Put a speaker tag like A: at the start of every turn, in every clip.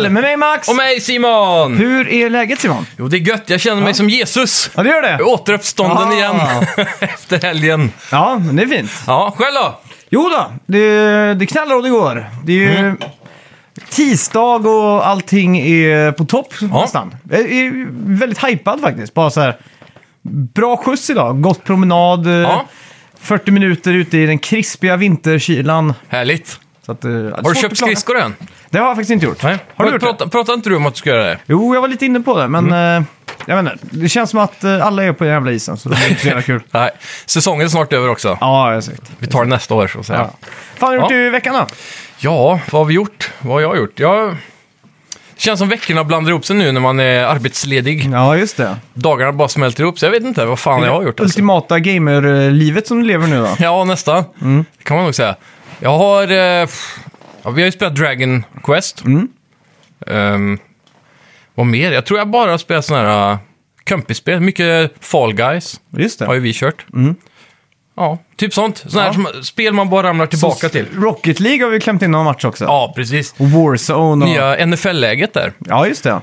A: Med mig Max!
B: Och mig Simon!
A: Hur är läget Simon?
B: Jo, det är gött. Jag känner mig som Jesus.
A: Ja, det gör det.
B: Återuppstånden
A: Ah.
B: igen efter helgen.
A: Ja, men det är fint.
B: Ja, själv då?
A: Jo då, det, det knallar och det går. Det är ju
B: Mm.
A: tisdag och allting är på topp nästan. Jag är väldigt hypad faktiskt. Bara så här, bra skjuts idag, gott promenad, eh,
B: Ja.
A: 40 minuter ute i den krispiga vinterkylan.
B: Härligt.
A: Så att, eh, det är
B: Har
A: svårt
B: du köpt
A: att klaga.
B: skridskor än?
A: Det har jag faktiskt inte gjort. Har du gjort det?
B: prata, Pratade inte du om att du ska göra det?
A: Jo, jag var lite inne på det, men eh, jag vet inte. Det känns som att eh, alla är på den jävla isen, så det blir inte så jävla kul.
B: Nej, säsongen är snart över också.
A: Ja, exakt.
B: Vi tar det nästa år, så att säga.
A: Ja.
B: Ja.
A: Fan, har du gjort
B: Ja.
A: i veckan då?
B: vad har vi gjort? Vad har jag gjort? Jag... Det känns som veckorna blandar ihop sig nu när man är arbetsledig.
A: Ja, just det.
B: Dagarna bara smälter ihop, så jag vet inte vad fan jag har gjort. Alltså.
A: Ultimata gamer-livet som du lever nu då?
B: Ja, nästan.
A: Mm.
B: Det kan man nog säga. Jag har... Eh, pff, ja, vi har ju spelat Dragon Quest.
A: Mm.
B: Ehm, vad mer? Jag tror jag bara har spelat sådana här uh, kompisspel. Mycket Fall Guys
A: Just det.
B: har ju vi kört. Ja, typ sånt. Sådana
A: Mm. Ja.
B: här som, spel man bara ramlar tillbaka
A: Så-
B: till.
A: Rocket League har vi klämt in någon match också.
B: Ja, precis.
A: Och Warzone och...
B: Nya NFL-läget där.
A: Ja, just det.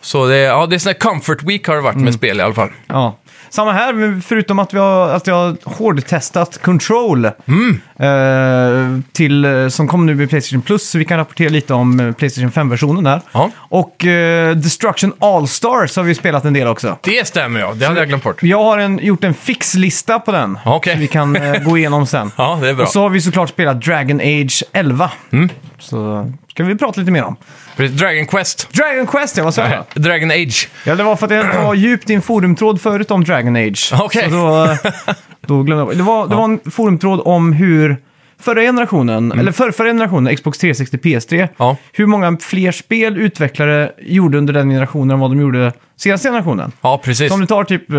B: Så det, ja, det är sån här comfort week har det varit
A: Mm.
B: med spel i alla fall.
A: Ja. Samma här, men förutom att, vi har, att jag har hårdtestat Control
B: Mm.
A: eh, till, eh, som kom nu med Playstation Plus, så vi kan rapportera lite om eh, Playstation 5-versionen där.
B: Ja.
A: Och eh, Destruction All-Stars har vi spelat en del också.
B: Det stämmer ja, det hade jag glömt bort.
A: Jag har en, gjort en fixlista på den,
B: Ja, okej.
A: så vi kan eh, gå igenom sen.
B: Ja, det är bra. Mm.
A: Och så har vi såklart spelat Dragon Age 11. Så ska vi prata lite mer om.
B: Dragon Quest.
A: Dragon Quest, ja, vad sa jag?
B: Dragon Age.
A: Ja, det var för att jag var djupt i en forumtråd förut om Dragon Age.
B: Okej.
A: Så då, då glömde jag. Det var, det var en forumtråd om hur förra generationen, eller förra, förra generationen, Xbox 360 PS3,
B: Mm. Ja.
A: hur många fler spel utvecklare gjorde under den generationen än vad de gjorde senaste generationen.
B: Ja, precis.
A: Så om du tar typ, eh,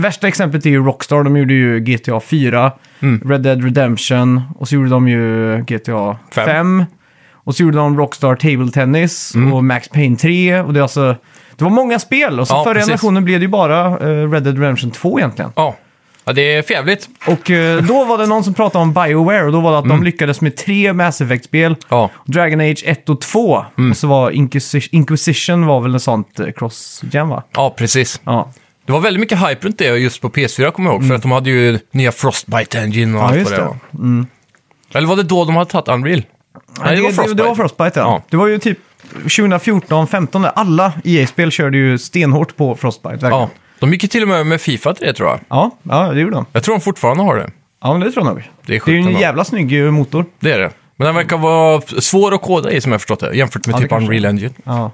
A: värsta exemplet är ju Rockstar, de gjorde ju GTA 4,
B: Mm.
A: Red Dead Redemption och så gjorde de ju GTA 5.
B: Fem.
A: och så gjorde de Rockstar Table Tennis
B: Mm.
A: och Max Payne 3 och det är alltså, det var många spel och så
B: Ja,
A: förra
B: precis.
A: generationen blev det ju bara eh, Red Dead Redemption 2 egentligen.
B: Ja. ja, det är fjävligt.
A: Och eh, då var det någon som pratade om Bioware och då var det att de lyckades med tre Mass Effect-spel.
B: Mm. Ja. Mm.
A: Dragon Age 1 och 2. Och så var Inquisi- Inquisition var väl en sånt eh, cross-gen va?
B: Ja, precis.
A: Ja. Mm.
B: Det var väldigt mycket hype runt det just på PS4 kommer jag ihåg. För att de hade ju nya Frostbite Engine och
A: Ja,
B: allt
A: just
B: vad det
A: det. Mm.
B: var. Eller var det då de hade tagit Unreal? Nej, det var Frostbite.
A: Det, var Frostbite, ja.
B: Ja.
A: Det var ju typ 2014, 15 där alla EA-spel körde ju stenhårt på Frostbite. Verkligen.
B: Ja, de gick ju till och med med Fifa till det tror jag.
A: Ja. ja, det gjorde de.
B: Jag tror de fortfarande har det.
A: Ja, men det tror jag nog.
B: Det är sjukt
A: det är ju en
B: ändå.
A: jävla snygg eh, motor.
B: Det är det. Men den verkar vara svår att koda i som jag förstått det, jämfört med
A: Ja, det
B: typ
A: kanske
B: Unreal Engine.
A: Ja.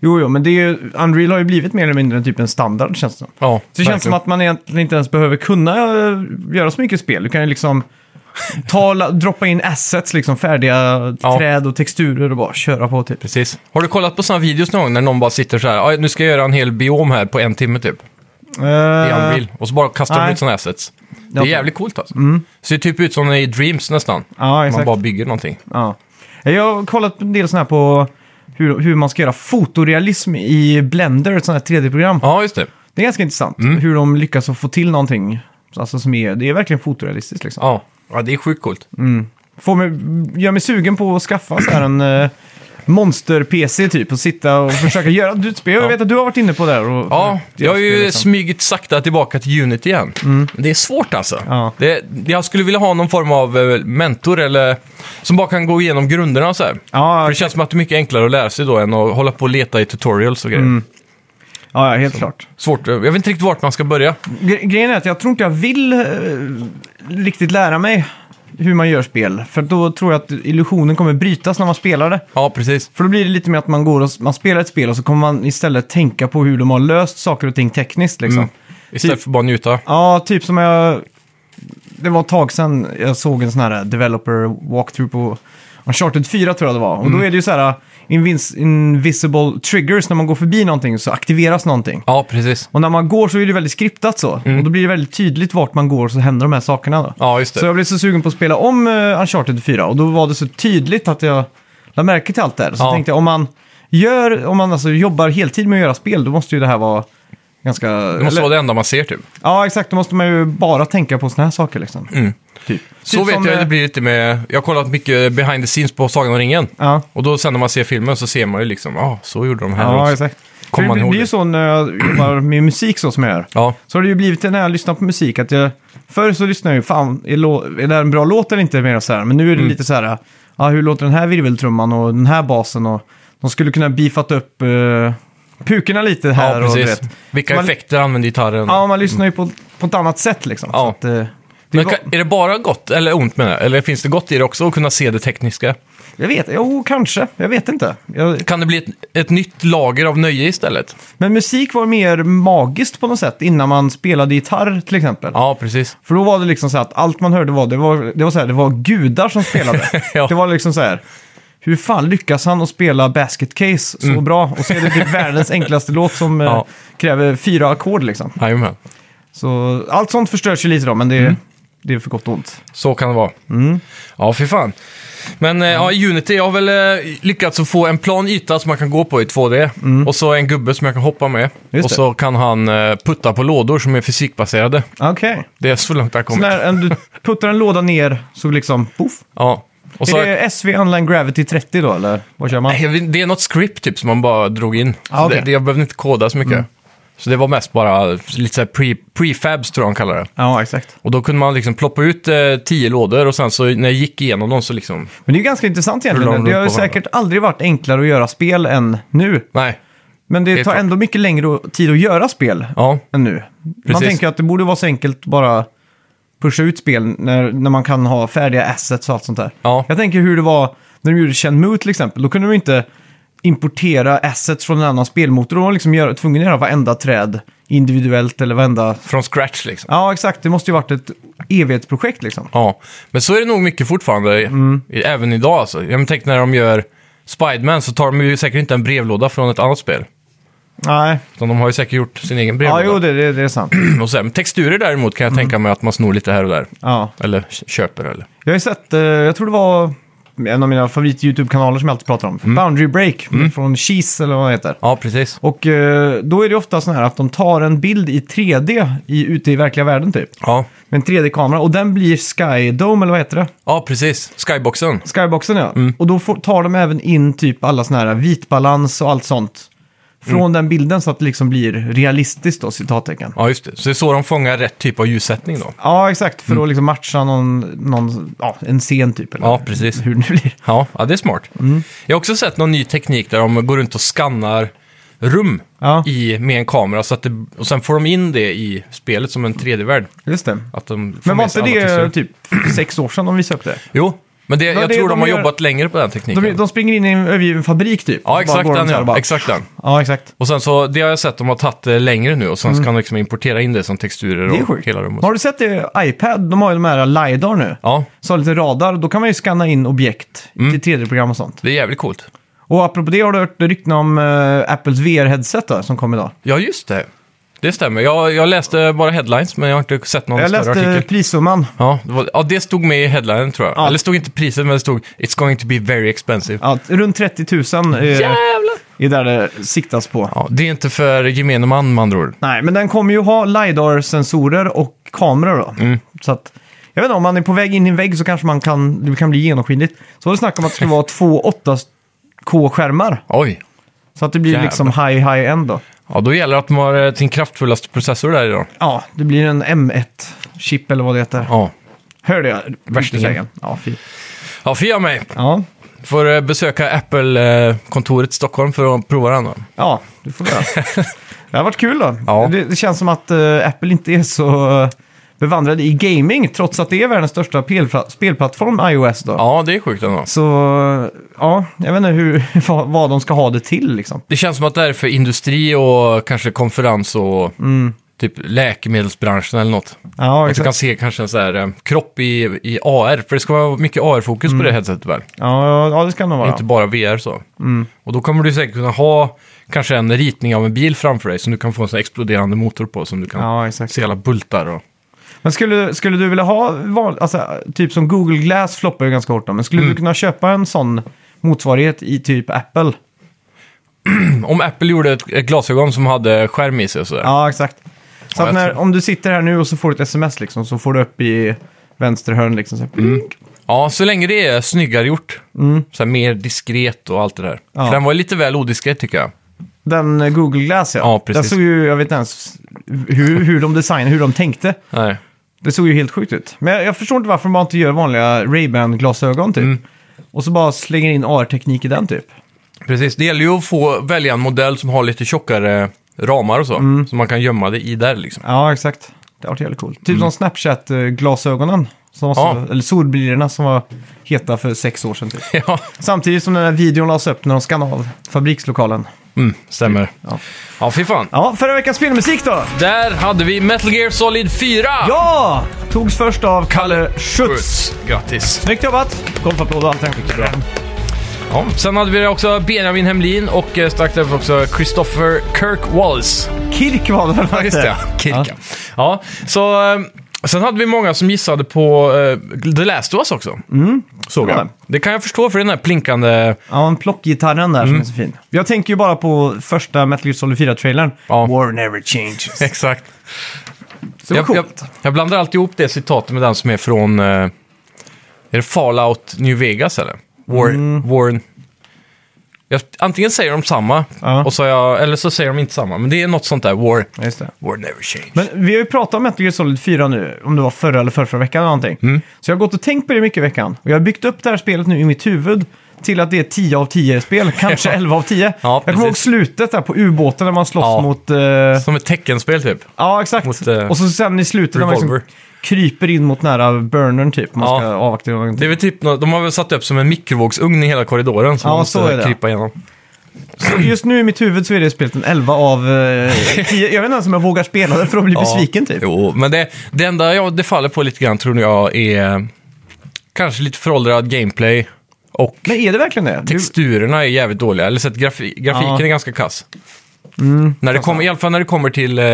A: Jo, jo, men det är ju, Unreal har ju blivit mer eller mindre typ en standard känns det som.
B: Ja,
A: Så det känns som att man egentligen inte ens behöver kunna eh, göra så mycket spel. Du kan ju liksom ta, la- droppa in assets, liksom färdiga
B: Ja.
A: träd och texturer och bara köra på typ.
B: Precis. Har du kollat på sådana videos någon gång när någon bara sitter så här, "Ah, nu ska jag göra en hel biom här på en timme typ,
A: Uh,
B: i Unreal. Och så bara kastar de
A: nej. Mm.
B: ut sådana assets. Det
A: har
B: är
A: jag
B: jävligt coolt alltså. Ser typ ut som i Dreams nästan.
A: Ja, exakt.
B: Man bara bygger någonting.
A: Ja. Jag har kollat en del sådana här på hur, hur man ska göra fotorealism i Blender, ett sånt här 3D-program.
B: Ja, Mm. just det.
A: Det är ganska intressant hur de lyckas att få till någonting. Alltså som är, det är verkligen fotorealistiskt liksom.
B: Ja, ja det är sjukt coolt.
A: Mm. Får mig, gör mig sugen på att skaffa så här en eh, monster-PC typ och sitta och försöka göra ett spel. Jag vet att du har varit inne på det här. Och,
B: Ja, jag har ju
A: Liksom.
B: smygit sakta tillbaka till Unity igen. Det är svårt alltså.
A: Ja.
B: Det, jag skulle vilja ha någon form av eh, mentor eller som bara kan gå igenom grunderna och så här. För
A: Ja,
B: det känns som att det är mycket enklare att lära sig då än att hålla på och leta i tutorials och grejer.
A: Mm. ja, helt klart.
B: Svårt. eh, Jag vet inte riktigt vart man ska börja.
A: Gre- Grejen är att jag tror inte jag vill eh, riktigt lära mig hur man gör spel. För då tror jag att illusionen kommer brytas när man spelar det.
B: Ja, precis.
A: För då blir det lite mer att man går och man spelar ett spel och så kommer man istället tänka på hur de har löst saker och ting tekniskt liksom.
B: Mm. Istället för bara njuta.
A: Ja, typ som jag... Det var ett tag sedan jag såg en sån här developer walkthrough på Uncharted 4 tror jag det var. Och då är det ju så här invis- invisible triggers när man går förbi någonting så aktiveras någonting.
B: Ja, precis.
A: Och när man går så är det väldigt skriptat så. Och då blir det väldigt tydligt vart man går så händer de här sakerna då.
B: Ja, just det.
A: Så jag blev så sugen på att spela om eh, Uncharted 4 och då var det så tydligt att jag lade märke till allt det här. Så
B: Ja.
A: tänkte jag, om man, gör, om man alltså jobbar heltid med att göra spel, då måste ju det här vara ganska...
B: Det måste
A: eller-
B: vara det enda man ser typ.
A: Ja, exakt. Då måste man ju bara tänka på såna här saker liksom. Typ.
B: Så
A: typ
B: vet
A: som,
B: jag
A: eh,
B: hur det blir lite med... Jag har kollat mycket behind the scenes på Sagan om ringen.
A: Ja.
B: Och då sen när man ser filmen så ser man ju liksom, ja, ah, så gjorde de här
A: Ja,
B: också.
A: exakt. För det
B: Kommer man ihåg
A: blir ju
B: det?
A: så när jag jobbar med musik så som jag gör.
B: Ja,
A: Så har det ju blivit när jag lyssnar på musik att jag... Förr så lyssnade jag ju, fan, är, lå- är det här en bra låt eller inte? Mer så här. Men nu är
B: Mm.
A: det lite så här, ja, hur låter den här virveltrumman och den här basen? Och de skulle kunna beefat upp uh, pukorna lite här.
B: ja
A: och, du
B: precis.
A: vet.
B: Vilka
A: Man-
B: effekter använde gitarren?
A: ja, man lyssnar ju på, på ett annat sätt liksom.
B: Ja.
A: Så att, eh, det
B: Men
A: var-
B: kan, är det bara gott, eller ont menar jag? Eller finns det gott i det också att kunna se det tekniska?
A: Jag vet, jo kanske. Jag vet inte. Jag,
B: Kan det bli ett, ett nytt lager av nöje istället?
A: men musik var mer magiskt på något sätt innan man spelade gitarr till exempel.
B: Ja, precis.
A: För då var det liksom så här att allt man hörde var, det var, det var, så här, det var gudar som spelade.
B: Ja.
A: Det var liksom så här, hur fan lyckas han att spela Basket Case så bra? Och så är det typ världens enklaste låt som eh,
B: Mm. Ja.
A: kräver fyra ackord liksom.
B: Jajamän.
A: Så allt sånt förstörs ju lite då, men det,
B: Mm.
A: det är för gott och ont.
B: Så kan det vara.
A: Mm.
B: Ja, fy fan. Men eh, ja, i Unity, jag har väl eh, lyckats att få en plan yta som man kan gå på i 2D. Och så en gubbe som jag kan hoppa med.
A: Mm. Just
B: och
A: det.
B: så kan han eh, putta på lådor som är fysikbaserade.
A: Okej.
B: Det är så långt jag har
A: Så
B: kommit.
A: när en- du puttar en låda ner så liksom, poff.
B: Ja. Och så,
A: Är det SV Online Gravity 30 då, eller vad kör man?
B: Nej, jag vet- det är något script typ som man bara drog in. Så
A: Ah, okej. Mm.
B: det, det, jag behövde inte koda så mycket. Så det var mest bara lite så här pre, prefabs tror jag de kallar det.
A: Ja, exakt.
B: Och då kunde man liksom ploppa ut eh, tio lådor och sen så när jag gick igenom dem så liksom...
A: Men det är ju ganska intressant
B: Rullar de
A: egentligen. Det har ju
B: runt på
A: säkert aldrig varit enklare att göra spel än nu.
B: Nej.
A: Men det
B: Helt
A: tar
B: klart.
A: ändå mycket längre o- tid att göra spel
B: Ja.
A: än nu. Man
B: Precis.
A: tänker att det borde vara så enkelt bara pusha ut spel när, när man kan ha färdiga assets och allt sånt där.
B: Ja.
A: Jag tänker hur det var när de gjorde Shenmue till exempel. Då kunde de inte importera assets från en annan spelmotor. Då var de liksom göra, tvungna att göra varenda träd individuellt eller varenda...
B: Från scratch liksom.
A: Ja, exakt. Det måste ju varit ett evighetsprojekt liksom.
B: Ja. Men så är det nog mycket fortfarande,
A: Mm.
B: i- även idag alltså. Jag men tänk när de gör Spiderman så tar de ju säkert inte en brevlåda från ett annat spel.
A: Nej.
B: Utan de har ju säkert gjort sin egen
A: Ja,
B: brevlåda.
A: jo, det, det, det är sant.
B: Och sen, texturer däremot kan jag tänka mig att man snor lite här och där.
A: Ja.
B: Eller k- köper eller...
A: Jag har ju sett, eh, jag tror det var en av mina favorit-YouTube-kanaler som jag alltid pratar om. Boundary Break från Cheese eller vad det heter.
B: Ja, precis.
A: Och eh, då är det ofta så här att de tar en bild i 3D i, ute i verkliga världen typ.
B: Ja.
A: Med en 3D-kamera och den blir Sky Dome eller vad heter det?
B: Ja, precis. Skyboxen.
A: Skyboxen ja. Och då får, tar de även in typ alla såna här vitbalans och allt sånt. Från den bilden så att det liksom blir realistiskt då, citattecken.
B: Ja, just det. Så det är så de fångar rätt typ av ljussättning då.
A: Ja, exakt. För att liksom matcha någon, någon ja, en scen typ. Eller
B: Ja, precis.
A: hur det nu blir.
B: Ja, ja det är smart.
A: Mm.
B: Jag har också sett någon ny teknik där de går runt och skannar rum
A: Ja.
B: i, med en kamera. Så att det, och sen får de in det i spelet som en 3D-värld.
A: Just det.
B: Att de får
A: Men var
B: med sig
A: inte
B: alla
A: det
B: texturer.
A: typ sex år sedan de visade upp det?
B: Jo, men det, jag
A: det-
B: tror de,
A: de
B: har
A: gör-
B: jobbat längre på den tekniken.
A: De, de springer in i en övergiven fabrik typ.
B: Ja,
A: Bara
B: exakt
A: går de
B: den,
A: så här och
B: ja.
A: bara-
B: exakt den.
A: Ja, exakt.
B: Och sen så, det har jag sett, de har tagit det längre nu och sen så kan de liksom importera in det som texturer
A: Mm. Det är
B: och
A: sjukt.
B: hela rummet.
A: Har du sett det? iPad, de har ju de här LiDAR nu.
B: Ja,
A: Så har lite radar, då kan man ju scanna in objekt
B: Mm.
A: till 3D-program och sånt.
B: det är jävligt coolt.
A: Och apropå det har du hört rykten om eh, Apples VR-headset då, som kom idag.
B: Ja, just det. Det stämmer. Jag, jag läste bara headlines, men jag har inte sett någon
A: Jag
B: större artikel.
A: läste prissumman.
B: Ja det, var, ja, det stod med i headlinen tror jag.
A: Ja.
B: Eller stod inte priset, men det stod “It's going to be very expensive”.
A: Ja, runt 30 000 är,
B: Jävlar!
A: är där det siktas på.
B: Ja, det är inte för gemene man med andra ord.
A: Nej, men den kommer ju ha LiDAR-sensorer och kameror då.
B: Mm.
A: Så att, jag vet inte, om man är på väg in i en vägg så kanske man kan, det kan bli genomskinligt. Så var det snack om att det skulle vara två 8K-skärmar.
B: Oj.
A: Så att det blir
B: Jävlar.
A: liksom high-high-end då.
B: Ja, då gäller det att man har eh, sin kraftfullaste processor där idag.
A: Ja, det blir en M1-chip eller vad det heter.
B: Ja.
A: Hörde jag?
B: Värstingen.
A: Sägen. Ja, fy.
B: Ja, fia mig.
A: Ja.
B: Får eh, besöka Apple-kontoret i Stockholm för att prova den då.
A: ja, det får vi göra. det har varit kul då.
B: Ja.
A: Det, det känns som att eh, Apple inte är så eh, bevandrade i gaming, trots att det är världens största pelpla- spelplattform, iOS då.
B: Ja, det är sjukt ändå.
A: Så ja, jag vet inte hur, vad, vad de ska ha det till liksom.
B: Det känns som att det är för industri och kanske konferens och
A: Mm.
B: typ läkemedelsbranschen eller något.
A: Ja,
B: Att du
A: exakt.
B: kan se kanske en så här eh, kropp i, i AR, för det ska vara mycket AR-fokus på det headsetet väl?
A: Ja, Mm. ja, Mm. det ska det nog vara.
B: Inte bara VR så. Och då kommer du säkert kunna ha kanske en ritning av en bil framför dig som du kan få en sån här exploderande motor på som du kan
A: Ja, exakt.
B: se alla bultar och...
A: Men skulle, skulle du vilja ha, van, alltså, typ som Google Glass floppar ju ganska hårt då, men skulle
B: Mm.
A: du kunna köpa en sån motsvarighet i typ Apple?
B: Om Apple gjorde ett, ett glasögon som hade skärm i sig och sådär.
A: Ja, exakt. Så
B: Ja,
A: att
B: jag
A: när,
B: tror-
A: om du sitter här nu och så får du ett sms liksom, så får du upp i vänsterhörn liksom. Så här,
B: Mm.
A: plink.
B: Ja, så länge det är snyggare gjort. Så här, mer diskret och allt det där.
A: Mm. Ja.
B: För den var lite väl odiskret tycker jag.
A: Den eh, Google Glass ja.
B: Ja, precis.
A: Den såg ju, jag vet inte ens hur, hur de designade, hur de tänkte.
B: Nej.
A: Det såg ju helt sjukt ut. Men jag, jag förstår inte varför man inte gör vanliga Ray-Ban-glasögon typ. Och så bara slänger in AR-teknik i den typ.
B: Precis, det gäller ju att få välja en modell som har lite tjockare ramar och så.
A: Mm.
B: Så man kan gömma det i där liksom.
A: Ja, exakt. Det har varit jävligt coolt. Typ som Snapchat-glasögonen. Som var
B: Ja.
A: så, eller solbrillorna som var heta för sex år sedan typ.
B: ja,
A: Samtidigt som den här videon lades upp när de skannade av fabrikslokalen.
B: mm, stämmer.
A: Ja.
B: Ja, fy fan.
A: Ja, förra veckans spelmusik då!
B: Där hade vi Metal Gear Solid 4!
A: Ja! Togs först av Kalle Schütz.
B: Puts. Grattis!
A: Snyggt jobbat! Golfapplåd och allting.
B: Ja. Sen hade vi också Benjamin Hemlin och eh, strax därför också Christopher Kirk Wallace.
A: Kirk var det väl?
B: Ja, just det. Kirka. Ja. så, eh, sen hade vi många som gissade på eh, The Last of Us också. Såg
A: Ja.
B: jag. Det kan jag förstå för den här plinkande...
A: Ja, en plockgitarren där
B: Mm.
A: som är så fin. Jag tänker ju bara på första Metal Gear Solid 4-trailern.
B: Ja.
A: War never changes.
B: Exakt.
A: Så det var
B: jag, jag,
A: coolt.
B: jag blandar alltid ihop det citatet med den som är från... Eh, är det Fallout New Vegas eller? War,
A: Mm.
B: Warren... Jag, antingen säger de samma,
A: Ja.
B: och så har jag, eller så säger de inte samma. Men det är något sånt där. War,
A: Ja, just det.
B: war never change.
A: Men vi har ju pratat om Metal Gear Solid 4 nu, om det var förra eller förra veckan eller någonting.
B: Mm.
A: Så jag har gått och tänkt på det mycket i veckan. Och jag har byggt upp det här spelet nu i mitt huvud till att det är 10 av 10 spel, kanske
B: Ja.
A: 11 av 10.
B: Ja,
A: jag kommer ihåg
B: precis.
A: slutet där på ubåten när man slåss
B: Ja.
A: mot... eh,
B: Som ett teckenspel typ.
A: ja, exakt.
B: mot, eh,
A: och så sen i slutet när man liksom
B: Revolver.
A: kryper in mot nära burnern typ. Man
B: Ja.
A: ska avvakta någonting.
B: Det är väl typ, nå- de har väl satt upp som en mikrovågsugn i hela korridoren som
A: Ja,
B: man
A: så är
B: måste
A: det.
B: krypa igenom.
A: Så just nu i mitt huvud så är det spelet en 11 av eh, 10. Jag vet inte ens om jag vågar spela det för att bli besviken typ.
B: Jo, men det, det enda jag, det faller på lite grann tror jag är kanske lite föråldrad gameplay och
A: Men är det verkligen det? Du,
B: texturerna är jävligt dåliga. Eller så att grafi, grafiken
A: Ja. Mm.
B: är ganska kass. när det kommer, I alla fall när det kommer till eh,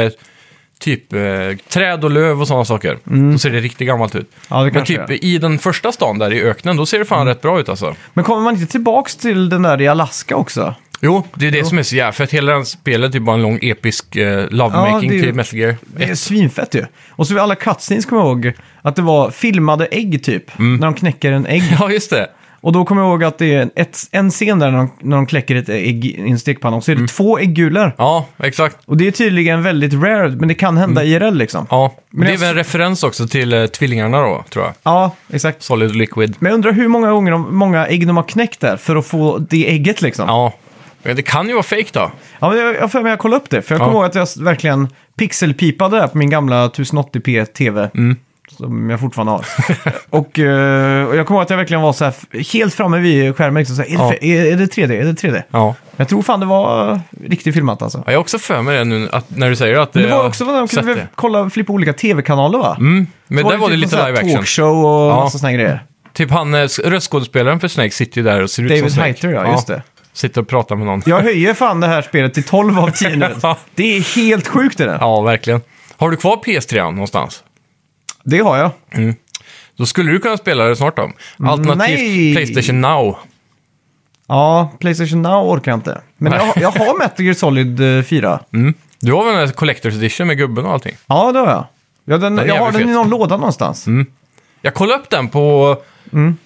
B: typ eh, träd och löv och sådana saker. Då ser det riktigt gammalt ut.
A: Mm. Ja, det
B: men
A: kanske Mm.
B: typ
A: det
B: i den första stan där i öknen, då ser det fan rätt bra ut alltså.
A: men kommer man inte tillbaks till den där i Alaska också?
B: Jo, det är det som är så jävla fett. Hela den spelet är typ bara en lång episk eh,
A: Ja,
B: lovemaking
A: det är ju-
B: till Metal Gear.
A: Det är svinfett ju. Och så vid alla cutscenes kommer jag ihåg att det var filmade ägg typ. När de knäcker en ägg.
B: Ja, just det.
A: Och då kommer jag ihåg att det är en, ett, en scen där när de, när de kläcker ett ägg i en stekpanna. Och så är det två äggulor.
B: Ja, exakt.
A: Och det är tydligen väldigt rare, men det kan hända IRL liksom.
B: Ja.
A: Men
B: det är
A: jag-
B: väl en referens också till eh, tvillingarna då, tror jag.
A: ja exakt.
B: Solid och Liquid.
A: Men jag undrar hur många gånger de, många ägg de har knäckt där för att få det ägget liksom. Ja.
B: Ja. Men det kan ju vara fake då.
A: men jag jag har för mig att jag kollade upp det, för jag
B: Ja.
A: kommer ihåg att jag s- verkligen pixelpipade där på min gamla 1080p TV.
B: Mm.
A: Som jag fortfarande har. och, eh, och jag kommer ihåg att jag verkligen var så här, f- helt framme vid skärmen. Liksom, så här, är, det,
B: Ja.
A: fe- är, är det 3D? Är det 3D?
B: Ja.
A: Jag tror fan det var eh, riktigt filmat alltså.
B: Ja, jag har också för mig det nu att, när du säger att
A: Men det var
B: jag
A: också när de
B: sett
A: kunde
B: det.
A: kolla, flippa olika tv-kanaler va?
B: Mm. Men där var det
A: typ en sån
B: lite
A: här
B: live action.
A: Talkshow och
B: Ja.
A: massa såna här grejer.
B: Typ han eh, röstskådespelaren för Snake sitter ju där och ser ut som
A: David
B: Snake.
A: Heiter ja, just det.
B: Sitter och pratar med någon.
A: Jag höjer fan det här spelet till 12 av 10 nu.
B: Ja.
A: Det är helt sjukt det där.
B: Ja, verkligen. Har du kvar PS3 -an någonstans?
A: Det har jag.
B: Då skulle du kunna spela det snart då. Alternativt
A: nej.
B: Playstation Now.
A: Ja, Playstation Now orkar jag inte. Men jag, jag har Metal Gear Solid eh, 4.
B: Mm. Du har väl en Collector's Edition med gubben och allting?
A: Ja, det har jag. Ja, den,
B: är
A: jag har
B: jävligt
A: den i
B: fet.
A: någon
B: Mm.
A: låda någonstans.
B: Jag kollade upp den på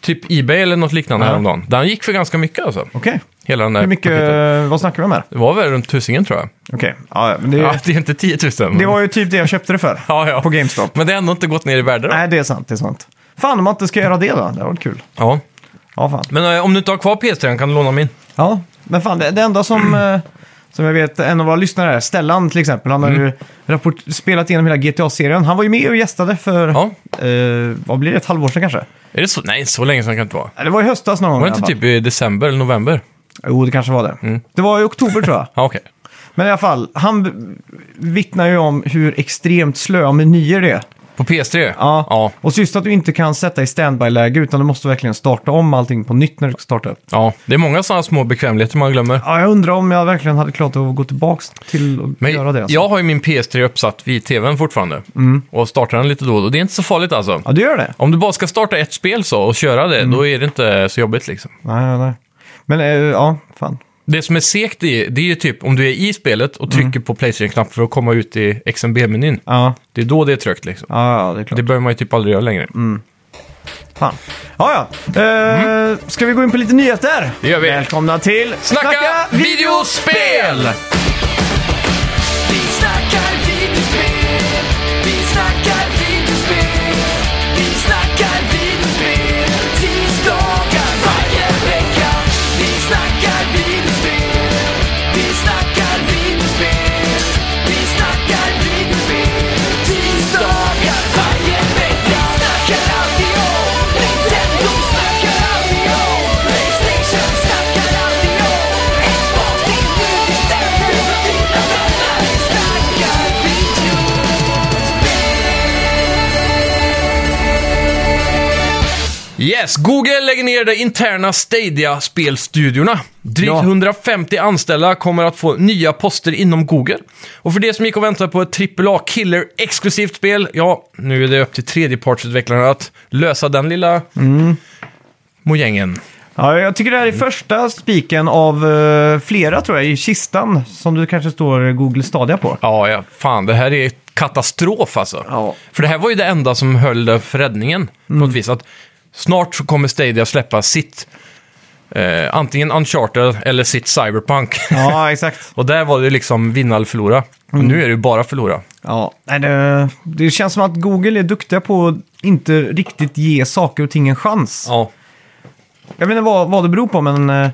B: typ Ebay eller något liknande
A: Mm. Ja.
B: häromdagen. Den gick för ganska mycket alltså.
A: Okej.
B: Hela den där
A: Hur mycket, eh,
B: paketet.
A: vad snackar vi om här?
B: Det var väl runt tusingen tror jag.
A: Okej, ja, men det,
B: Ja, det är inte 10 000. men-
A: det var ju typ det jag köpte det för.
B: ja, ja.
A: På GameStop.
B: Men det har ändå inte gått ner i värde då.
A: Nej, det är sant, det är sant. Fan om man inte ska göra det då, det har varit kul.
B: Ja.
A: Ja, fan.
B: Men eh, om du inte har kvar PS3 kan du låna
A: Mm.
B: min.
A: Ja, men fan det, det enda som, eh, som jag vet, en av våra lyssnare här, Stellan till exempel, han har ju
B: Mm.
A: rapport, spelat igenom hela GTA-serien. Han var ju med och gästade för,
B: Ja.
A: eh, vad blir det, ett halvår sedan kanske?
B: Är det så? Nej, så länge sedan kan det inte vara.
A: Ja, Det var i höstas någon gång.
B: Var
A: i
B: det
A: alla
B: inte
A: fall.
B: typ i december eller november?
A: Jo, det kanske var det.
B: Mm.
A: Det var i oktober tror jag.
B: Ja, okej.
A: Men i alla fall, han b- vittnar ju om hur extremt slöa menyer det är.
B: På PS3?
A: Ja.
B: Ja.
A: Och så just att du inte kan sätta i standby-läge utan du måste verkligen starta om allting på nytt när du ska starta upp.
B: ja. Det är många sådana små bekvämligheter man glömmer.
A: Ja, jag undrar om jag verkligen hade klarat att gå tillbaka till att
B: Men
A: göra det. Alltså. Mm.
B: jag har ju min PS3 uppsatt vid tvn fortfarande. Och startar den lite då och då. Det är inte så farligt alltså.
A: Ja, Mm. du gör det?
B: Om du bara ska starta ett spel så och köra det, då är det inte så jobbigt liksom.
A: Nej, nej. Men eh, ja, fan.
B: Det som är segt i, det är ju typ om du är i spelet och trycker på Playstation-knappen för att komma ut i XMB-menyn.
A: Mm. Ja,
B: Det är då det är trögt liksom.
A: ja, ja det är klart.
B: Det behöver man ju typ aldrig göra längre.
A: Fan. Ja, ja. Eh, Ska vi gå in på lite nyheter?
B: Mm. Det gör vi.
A: Välkomna till
B: Snacka, videospel!
C: Vi snackar videospel, vi snackar videospel, vi snackar videospel, tisdagar varje vecka. Vi snackar videospel, vi snackar videospel, vi snackar videospel, tisdagar varje vecka. Snackar alltid om Nintendo, snackar alltid om Playstation, snackar alltid om Xbox, till nu december, för dina vänner. Vi snackar videospel.
B: Yes, Google lägger ner de interna Stadia-spelstudiorna. Drygt
A: Ja.
B: 150 anställda kommer att få nya poster inom Google. Och för det som gick och väntade på ett AAA Killer exklusivt spel, ja, nu är det upp till tredjepartsutvecklarna att lösa den lilla mojängen.
A: Ja, jag tycker det här är första spiken av eh, flera tror jag i kistan som du kanske står Google Stadia på.
B: Ja, ja, fan, det här är katastrof alltså.
A: Ja. Mm.
B: För det här var ju det enda som höll det för räddningen, på något vis. Att snart så kommer Stadia släppa sitt, eh, antingen Uncharted eller sitt Cyberpunk.
A: Ja, exakt.
B: Och där var det liksom vinna eller förlora. Och
A: Mm.
B: nu är det ju bara förlora.
A: Ja, nej, det, det känns som att Google är duktiga på att inte riktigt ge saker och ting en chans.
B: Ja.
A: Jag vet inte vad, vad det beror på, men... eh,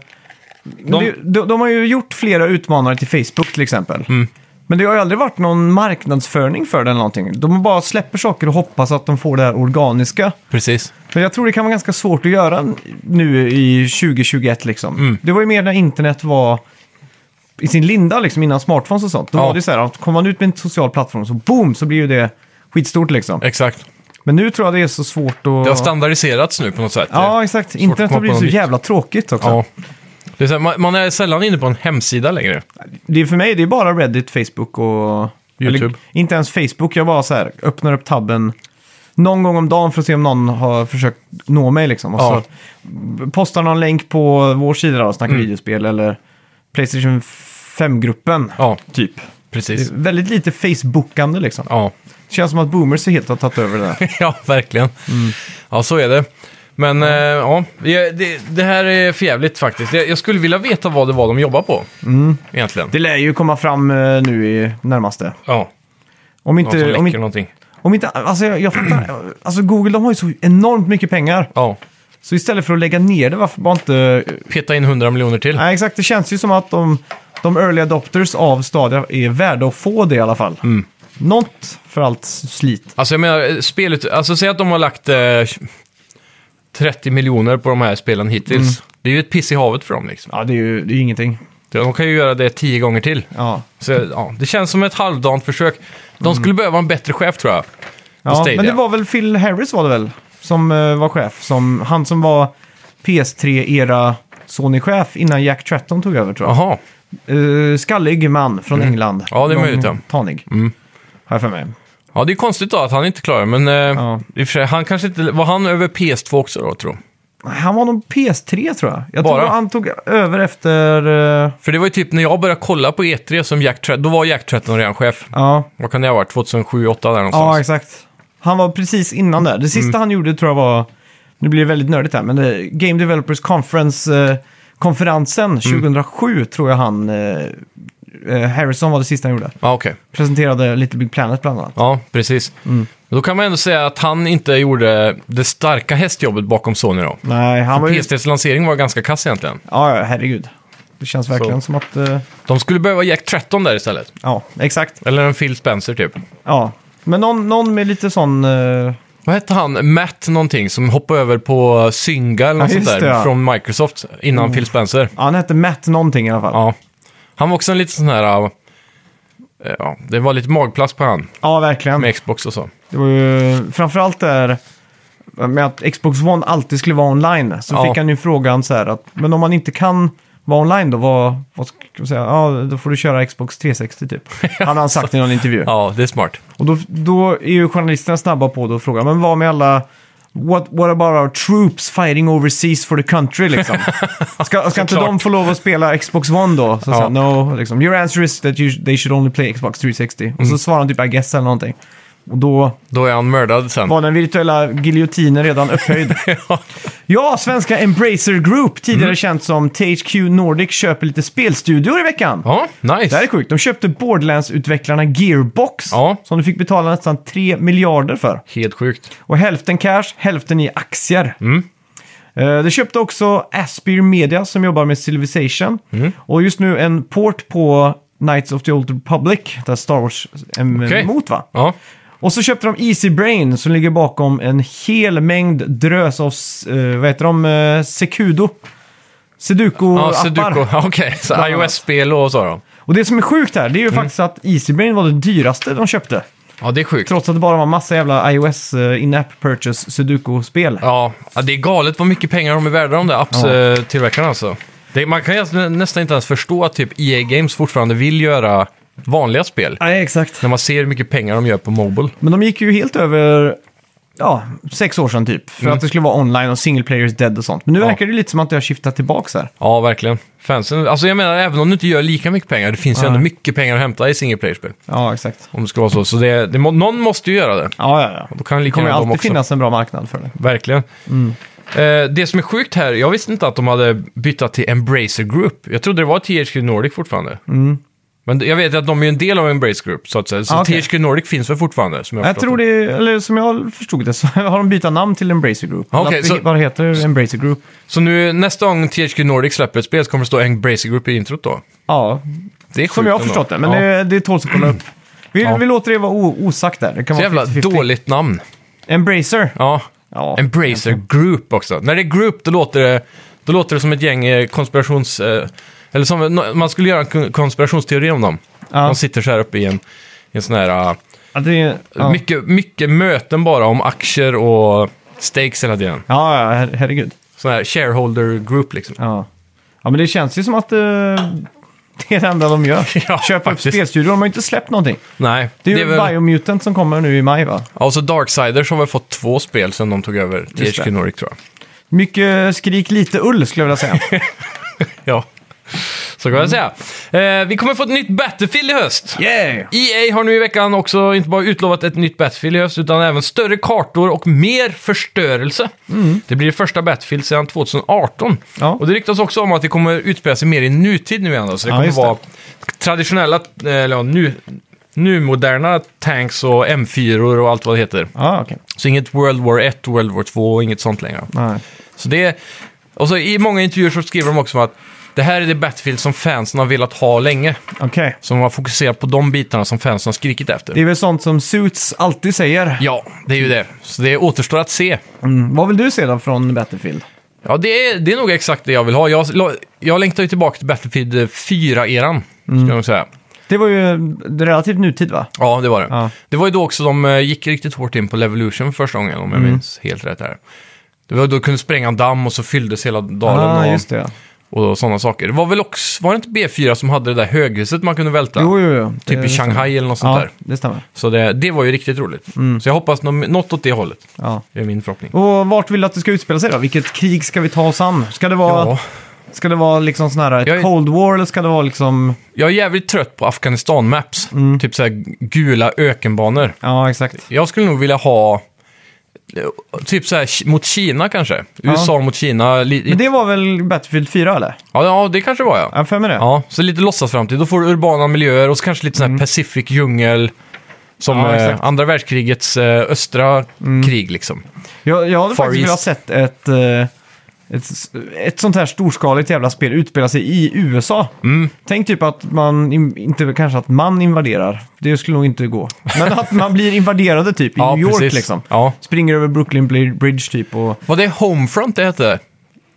B: De-
A: det- De, de har ju gjort flera utmanare till Facebook till exempel. Men det har ju aldrig varit någon marknadsföring för det eller någonting. De bara släpper saker och hoppas att de får det här organiska.
B: Precis.
A: Men jag tror det kan vara ganska svårt att göra nu i 2021 liksom.
B: Mm.
A: Det var ju mer när internet var i sin linda liksom, innan smartphones och sånt. Då
B: Ja.
A: var det så här, att kom man ut med en social plattform så boom, så blir ju det skitstort liksom.
B: Exakt.
A: Men nu tror jag det är så svårt att...
B: Eh. Det har standardiserats nu på något sätt.
A: Ja, exakt. Internet
B: komma
A: har
B: på
A: blivit
B: något
A: så
B: nytt.
A: jävla tråkigt också.
B: ja. Det är så här, man, man är sällan inne på en hemsida längre.
A: Det är för mig det är bara Reddit, Facebook och...
B: YouTube.
A: inte ens Facebook, jag bara så här, öppnar upp tabben någon gång om dagen för att se om någon har försökt nå mig. Liksom. Och
B: Ja. Mm.
A: så postar någon länk på vår sida då, och snackar videospel eller Playstation 5-gruppen.
B: Ja,
A: Typ. Det
B: precis.
A: är väldigt lite Facebookande liksom.
B: Ja,
A: Det känns som att boomers helt har tagit över det där.
B: ja verkligen. Ja, så är det. Men eh, ja, det, det- det här är för jävligt faktiskt. Jag, jag skulle vilja veta vad det var de jobbar på. Egentligen.
A: Det lär ju komma fram eh, nu i närmaste.
B: Ja,
A: Om
B: någon som
A: inte... Om
B: läcker
A: inte,
B: någonting.
A: om inte alltså, jag, jag fattar, alltså Google de har ju så enormt mycket pengar.
B: Ja,
A: Så istället för att lägga ner det, varför bara inte...
B: peta in 100 miljoner till.
A: Nej, exakt. Det känns ju som att de, de early adopters av Stadia är värda att få det i alla fall.
B: Mm.
A: Något för allt slit.
B: Alltså jag menar, spelet, alltså säg att de har lagt eh, 30 miljoner på de här spelen hittills.
A: Mm.
B: Det är ju ett piss i havet för dem liksom.
A: Ja, det är ju det är ju ingenting.
B: De kan ju göra det tio gånger till.
A: Ja.
B: Så ja, det känns som ett halvdant försök. De skulle behöva en bättre chef tror jag.
A: Mm. ja
B: Stadia.
A: men det var väl Phil Harris var det väl? Som eh, var chef. Som, han som var PS3-era Sony-chef innan Jack Tratton tog över tror jag.
B: Jaha, Mm.
A: Eh, skallig man från England.
B: Ja, det är
A: Lång-
B: möjligt, ja. Mm.
A: Tanig. Har jag för mig.
B: ja det är konstigt då att han inte klarar men eh,
A: Ja.
B: i och för sig, han kanske inte, var han över PS2 också då tror jag?
A: Han var nog PS3 tror jag. Jag
B: Bara?
A: tror han tog över efter... eh,
B: För det var ju typ när jag började kolla på E3 som Jack Tretton, då var Jack Tretton redan chef.
A: ja.
B: Vad kan det ha varit? 2007, 2008 där
A: Ja,
B: någonstans.
A: exakt. Mm. Han var precis innan där. Det sista han gjorde tror jag var, nu blir det väldigt nördigt här, men eh, Game Developers Conference, eh, konferensen 2007 tror jag han, eh, eh, Harrison var det sista han gjorde.
B: Ja, okej.
A: Presenterade Little Big Planet bland annat.
B: Ja, precis.
A: Mm.
B: Då kan man ändå säga att han inte gjorde det starka hästjobbet bakom Sony då.
A: Nej, han var ju...
B: PS3s lansering var ganska kass egentligen.
A: Ja, ja, herregud. Det känns verkligen som att, eh,
B: De skulle behöva Jack Tretton där istället.
A: ja, exakt.
B: Eller en Phil Spencer typ.
A: Ja. Men någon, någon med lite sån... eh,
B: Vad hette han? Matt någonting som hoppade över på Synga eller något
A: Ja,
B: sånt
A: just
B: där
A: det, ja. Mm.
B: från Microsoft innan Phil Spencer.
A: ja, han hette Matt någonting i alla fall. Ja,
B: Ja. Han var också en liten sån här... äh, Ja, det var lite magplast på han
A: verkligen.
B: med Xbox och så.
A: Det var ju framförallt där med att Xbox One alltid skulle vara online. Så
B: Ja.
A: fick han ju frågan så här att, men om man inte kan vara online då, vad, vad ska jag säga? Ja, då får du köra Xbox 360 typ. Han har sagt i någon intervju.
B: Ja, det är smart.
A: Och då, då är ju journalisterna snabba på det och frågar, men vad med alla What, what about our troops fighting overseas for the country liksom? Ska, ska inte de
B: Såklart.
A: få lov att spela Xbox One då? Så
B: Ja.
A: sa, no, liksom, your answer is that you, they should only play Xbox 360. Och
B: Mm.
A: så svarade han typ I guess eller någonting. Och då
B: Då är han mördad sen.
A: var den virtuella giljotinen redan upphöjd. ja, svenska Embracer Group, tidigare
B: Mm.
A: känt som THQ Nordic, köper lite spelstudior i veckan.
B: Ja, nice.
A: Det här är sjukt. De köpte Borderlands-utvecklarna Gearbox,
B: Ja.
A: som du fick betala nästan 3 miljarder för.
B: Helt sjukt.
A: Och hälften cash, hälften i aktier.
B: Mm.
A: Eh, Det köpte också Aspyr Media som jobbar med Civilization.
B: Mm.
A: Och just nu en port på Knights of the Old Republic, där Star Wars är
B: Okej.
A: emot va?
B: Ja,
A: Och så köpte de Easy Brain som ligger bakom en hel mängd drös av, eh, vad heter de, eh, Secudo.
B: ja
A: Seduco-appar.
B: Sudoku. Ja, Okej, så
A: annat.
B: iOS-spel och så då.
A: och det som är sjukt här, det är ju faktiskt att Easy Brain var det dyraste de köpte.
B: Ja, det är sjukt.
A: Trots att det bara var massa jävla iOS eh, in-app purchase Sudoku-spel.
B: Ja, ja, det är galet vad mycket pengar de är värda de där apps-tillverkarna alltså. Det, man kan ju nästan inte ens förstå att typ EA Games fortfarande vill göra vanliga spel.
A: Nej, exakt.
B: När man ser hur mycket pengar de gör på Mobile.
A: Men de gick ju helt över, ja, sex år sedan typ. För att det skulle vara online och single players dead och sånt. Men nu
B: Mm. Ja.
A: verkar det lite som att det har skiftat tillbaka här.
B: Ja, verkligen. Fansen, alltså jag menar, även om du inte gör lika mycket pengar, det finns ju ändå mycket pengar att hämta i single player-spel.
A: Ja, exakt.
B: Om det ska vara så. Så det, det, må- någon måste ju göra det.
A: Ja, ja, ja.
B: Då kan det
A: Det
B: lika
A: kommer
B: gärna de
A: alltid
B: också.
A: finnas Mm. en bra marknad för det.
B: Verkligen. Eh, det som är sjukt här, jag visste inte att de hade bytt till Embracer Group. Jag trodde det var THQ Nordic fortfarande. Men jag vet att de är ju en del av Embracer Group, så att säga. Så
A: Mm. Ah, okej.
B: THQ Nordic finns väl fortfarande? Som jag
A: Jag tror det, eller som jag förstod det så har de bytt namn till Embracer Group.
B: Ja, okej,
A: Eller att
B: så-
A: det bara heter Embracer Group?
B: Så nu nästa gång THQ Nordic släpper ett spel så kommer det stå Embracer Group i introt då.
A: Ja,
B: Det är
A: som
B: sjukt
A: jag har
B: ändå.
A: förstått det. Men
B: Ja.
A: det, det tåls att kolla upp. Vi,
B: Ja.
A: vi låter det vara o, osagt där. Det kan vara
B: Så jävla
A: 50-50.
B: dåligt namn.
A: Embracer?
B: Ja.
A: Ja.
B: Embracer Group också. När det är group, då låter det, då låter det som ett gäng eh, konspirations... eh, Eller som, no- man skulle göra en kon- konspirationsteori om dem.
A: Ja.
B: De sitter så här uppe i en, i en sån här... ah,
A: Ja, det, ja.
B: Mycket, mycket möten bara om aktier och stakes hela tiden.
A: ja, ja, her, herregud.
B: Sån här shareholder group liksom.
A: Ja. ja, men det känns ju som att eh, det är det enda de gör.
B: Ja,
A: Köpa upp
B: faktiskt.
A: spelstudior. De har ju inte släppt någonting.
B: Nej,
A: Det är ju
B: väl...
A: Biomutant som kommer nu i maj va?
B: Ja, och så Darksiders har väl fått två spel sedan de tog över
A: Just
B: THQ
A: det.
B: Nordic tror jag.
A: Mycket skrik, lite ull skulle jag vilja säga.
B: Ja, så kan jag
A: Mm.
B: säga. Eh, vi kommer få ett nytt Battlefield i höst.
A: yeah!
B: EA E har nu i veckan också inte bara utlovat ett nytt Battlefield i höst, utan även större kartor och mer förstörelse. Det blir det första Battlefield sedan 2018.
A: Mm. Ja.
B: Och det ryktas också om att det kommer utspela sig mer i nutid nu igen. då, Så det
A: Ja,
B: kommer
A: just det.
B: vara traditionella, eh, eller ja, nu, nu moderna tanks och M4 och allt vad det heter.
A: Ja, okej.
B: Så inget World War 1, World War 2 och inget sånt längre.
A: Nej.
B: Så det är, och så i många intervjuer så skriver de också att det här är det Battlefield som fansen har velat ha länge.
A: Okej.
B: Så de har fokuserat på de bitarna som fansen har skrikit efter.
A: Det är väl sånt som Suits alltid säger.
B: Ja, det är ju det. Så det återstår att se.
A: Mm. Vad vill du se då från Battlefield?
B: Ja, det är, det är nog exakt det jag vill ha. Jag, jag längtar ju tillbaka till Battlefield 4-eran,
A: Mm.
B: skulle jag nog säga.
A: Det var ju relativt nutid va?
B: Ja, det var det.
A: Ja.
B: Det var ju då också de eh, gick riktigt hårt in på Levolution för första gången, om
A: Mm.
B: jag minns helt rätt här. Det var då de kunde spränga en damm och så fylldes hela dalen
A: ah,
B: och,
A: just det.
B: och sådana saker. Det var väl också, var det inte B4 som hade det där höghuset man kunde välta?
A: Jo, jo, jo.
B: Typ
A: Det-
B: i Shanghai eller något sånt
A: Ja,
B: där.
A: det stämmer.
B: Så det, det var ju riktigt roligt. Så jag hoppas nå- något åt det hållet.
A: Ja.
B: Det är min förhoppning.
A: Och vart vill du att det ska utspela sig då? Vilket krig ska vi ta oss an? Ska det vara,
B: Ja.
A: ska det vara liksom sån här ett
B: Jag är-
A: Cold War eller ska det vara liksom...
B: Jag är jävligt trött på Afghanistan-maps.
A: Mm.
B: Typ såhär gula ökenbanor.
A: Ja, exakt.
B: Jag skulle nog vilja ha... eh, Typ såhär Ki- mot Kina kanske. USA mot Kina. Li-
A: Men det var väl Battlefield 4 eller?
B: Ja, ja, det kanske var
A: Ja,
B: ja.
A: Jag för mig det.
B: Ja, så lite låtsasframtid. Då får du urbana miljöer och så kanske lite sån här Pacific djungel. Som
A: Mm. Ja,
B: eh,
A: exakt. Mm.
B: andra världskrigets eh, östra krig liksom.
A: Jag, jag hade
B: Far
A: faktiskt velat
B: East.
A: sett ett, eh, ett, ett sånt här storskaligt jävla spel utspela sig i USA.
B: Mm.
A: Tänk typ att man, in, inte kanske att man invaderar, det skulle nog inte gå. Men att man blir invaderade typ i
B: Ja,
A: New York
B: precis.
A: liksom.
B: Ja.
A: Springer över Brooklyn Bri- Bridge typ och...
B: Var det Homefront det hette? Det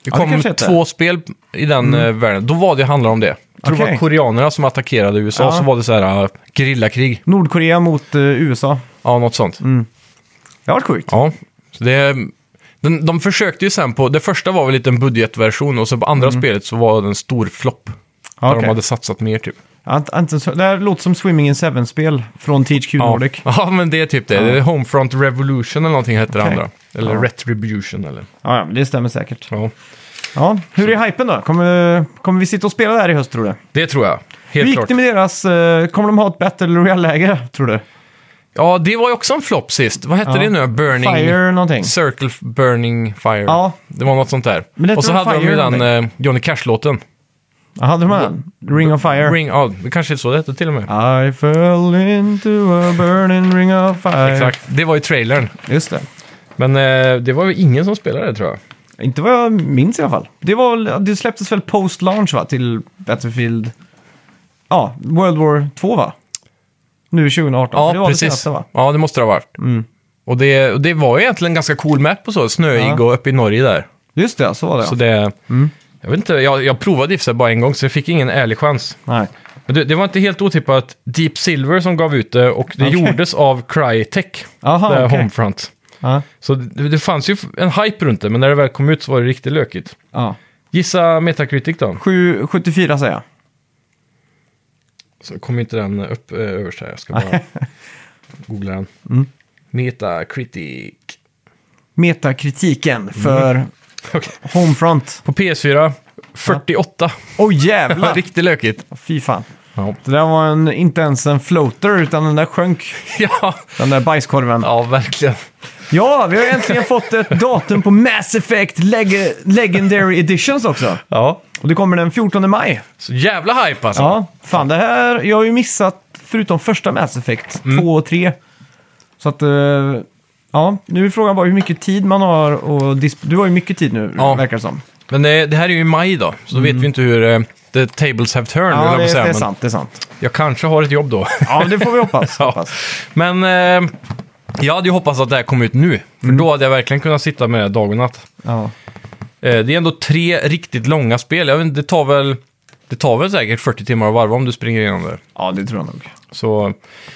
A: det
B: kom
A: kanske hette. Mm.
B: två spel i den eh, världen. Då var det handlade om det. Jag tror det var
A: Okej.
B: koreanerna som attackerade USA,
A: Ja.
B: så var det så här uh, gerillakrig.
A: Nordkorea mot eh, USA.
B: Ja, något sånt.
A: Mm. Det har varit sjukt.
B: Ja, så det... Den, de försökte ju sen på... Det första var väl lite en budgetversion och sen på andra spelet så var det en stor flopp. Där
A: Mm. okej.
B: de hade satsat mer typ.
A: Ant- Anton- Det här låter som Swimming in Seven-spel från THQ Nordic.
B: Ja. ja, men det är typ det. det är Homefront Revolution eller någonting heter det
A: Okej.
B: andra. Eller
A: Ja.
B: Retribution eller...
A: Ja, ja, det stämmer säkert.
B: Ja,
A: Ja, hur är hypen då? Kommer, kommer vi sitta och spela där i höst tror du?
B: det tror jag.
A: Hur
B: Helt
A: gick
B: klart.
A: det med deras... eh, kommer de ha ett Battle Royale-läge tror du?
B: Ja, det var ju också en flopp sist. Vad hette
A: Ja.
B: det nu? Burning...
A: Fire någonting?
B: Circle f- Burning Fire.
A: Ja.
B: Det var något sånt där.
A: Men det
B: Och så
A: tror jag
B: hade de ju
A: Fire
B: den eh, Johnny Cash-låten.
A: Jaha, de har den? Ring of Fire?
B: Ring... Ja, det kanske är så det hette till och med.
A: I fell into a burning ring of fire.
B: Exakt. Det var ju trailern.
A: Just det.
B: Men eh, det var väl ingen som spelade det tror jag.
A: Inte vad jag minns i alla fall. Det, var, väl- det släpptes väl post-launch va? Till Battlefield... Ja, World War 2 va? Nu 2018.
B: Ja,
A: För det var
B: precis.
A: Det senaste, va? Mm.
B: Ja, det måste det ha varit. Och det, och det var ju egentligen en ganska cool map och så. Snöig
A: Ja.
B: och uppe i Norge där.
A: Just det, ja, så var det. ja. Mm.
B: Så det... Jag vet inte, jag, jag provade i och för sig bara en gång så jag fick ingen ärlig chans.
A: Nej.
B: Men det, det var inte helt otippat Deep Silver som gav ut det och det
A: Okej.
B: gjordes av Crytek,
A: Aha,
B: det här
A: okej.
B: Homefront.
A: Ja.
B: Så det, det fanns ju f- en hype runt det, men när det väl kom ut så var det riktigt lökigt.
A: ja.
B: Gissa Metacritic då.
A: Sju- 74 säger jag.
B: Så kom inte den upp eh, överst här, jag ska bara googla den.
A: Mm.
B: Metacritic.
A: Metakritiken för
B: Mm. Okej.
A: Homefront.
B: På PS4, 48.
A: Åh
B: Det var
A: jävlar!
B: riktigt lökigt.
A: Fy fan.
B: Ja.
A: Det där var en, inte ens en floater, utan den där sjönk.
B: ja,
A: Den där bajskorven.
B: ja, verkligen.
A: Ja, vi har äntligen fått ett datum på Mass Effect Leg- Legendary Editions också.
B: Ja.
A: Och det kommer den 14 maj.
B: Så jävla hype alltså.
A: Ja, fan det här. Jag har ju missat, förutom första Mass Effect,
B: Mm.
A: 2 och 3. Så att, eh, ja, nu är frågan bara hur mycket tid man har och disp- Du har ju mycket tid nu,
B: Ja.
A: verkar det som.
B: Men eh, det, det här är ju i maj då, så då vet vi inte hur eh, the tables have turned. höll
A: Mm.
B: jag på
A: Ja,
B: att
A: det, det
B: säga,
A: är
B: men
A: sant, det är sant.
B: Jag kanske har ett jobb då.
A: Ja, det får vi hoppas.
B: Ja.
A: hoppas.
B: Men eh, jag hade ju hoppats att det här kom ut nu, för
A: Mm.
B: då hade jag verkligen kunnat sitta med det dag och natt.
A: Ja.
B: Eh, det är ändå tre riktigt långa spel. Jag vet, inte, det, tar väl, det tar väl säkert 40 timmar att varva om du springer igenom det.
A: ja, det tror jag nog.
B: Så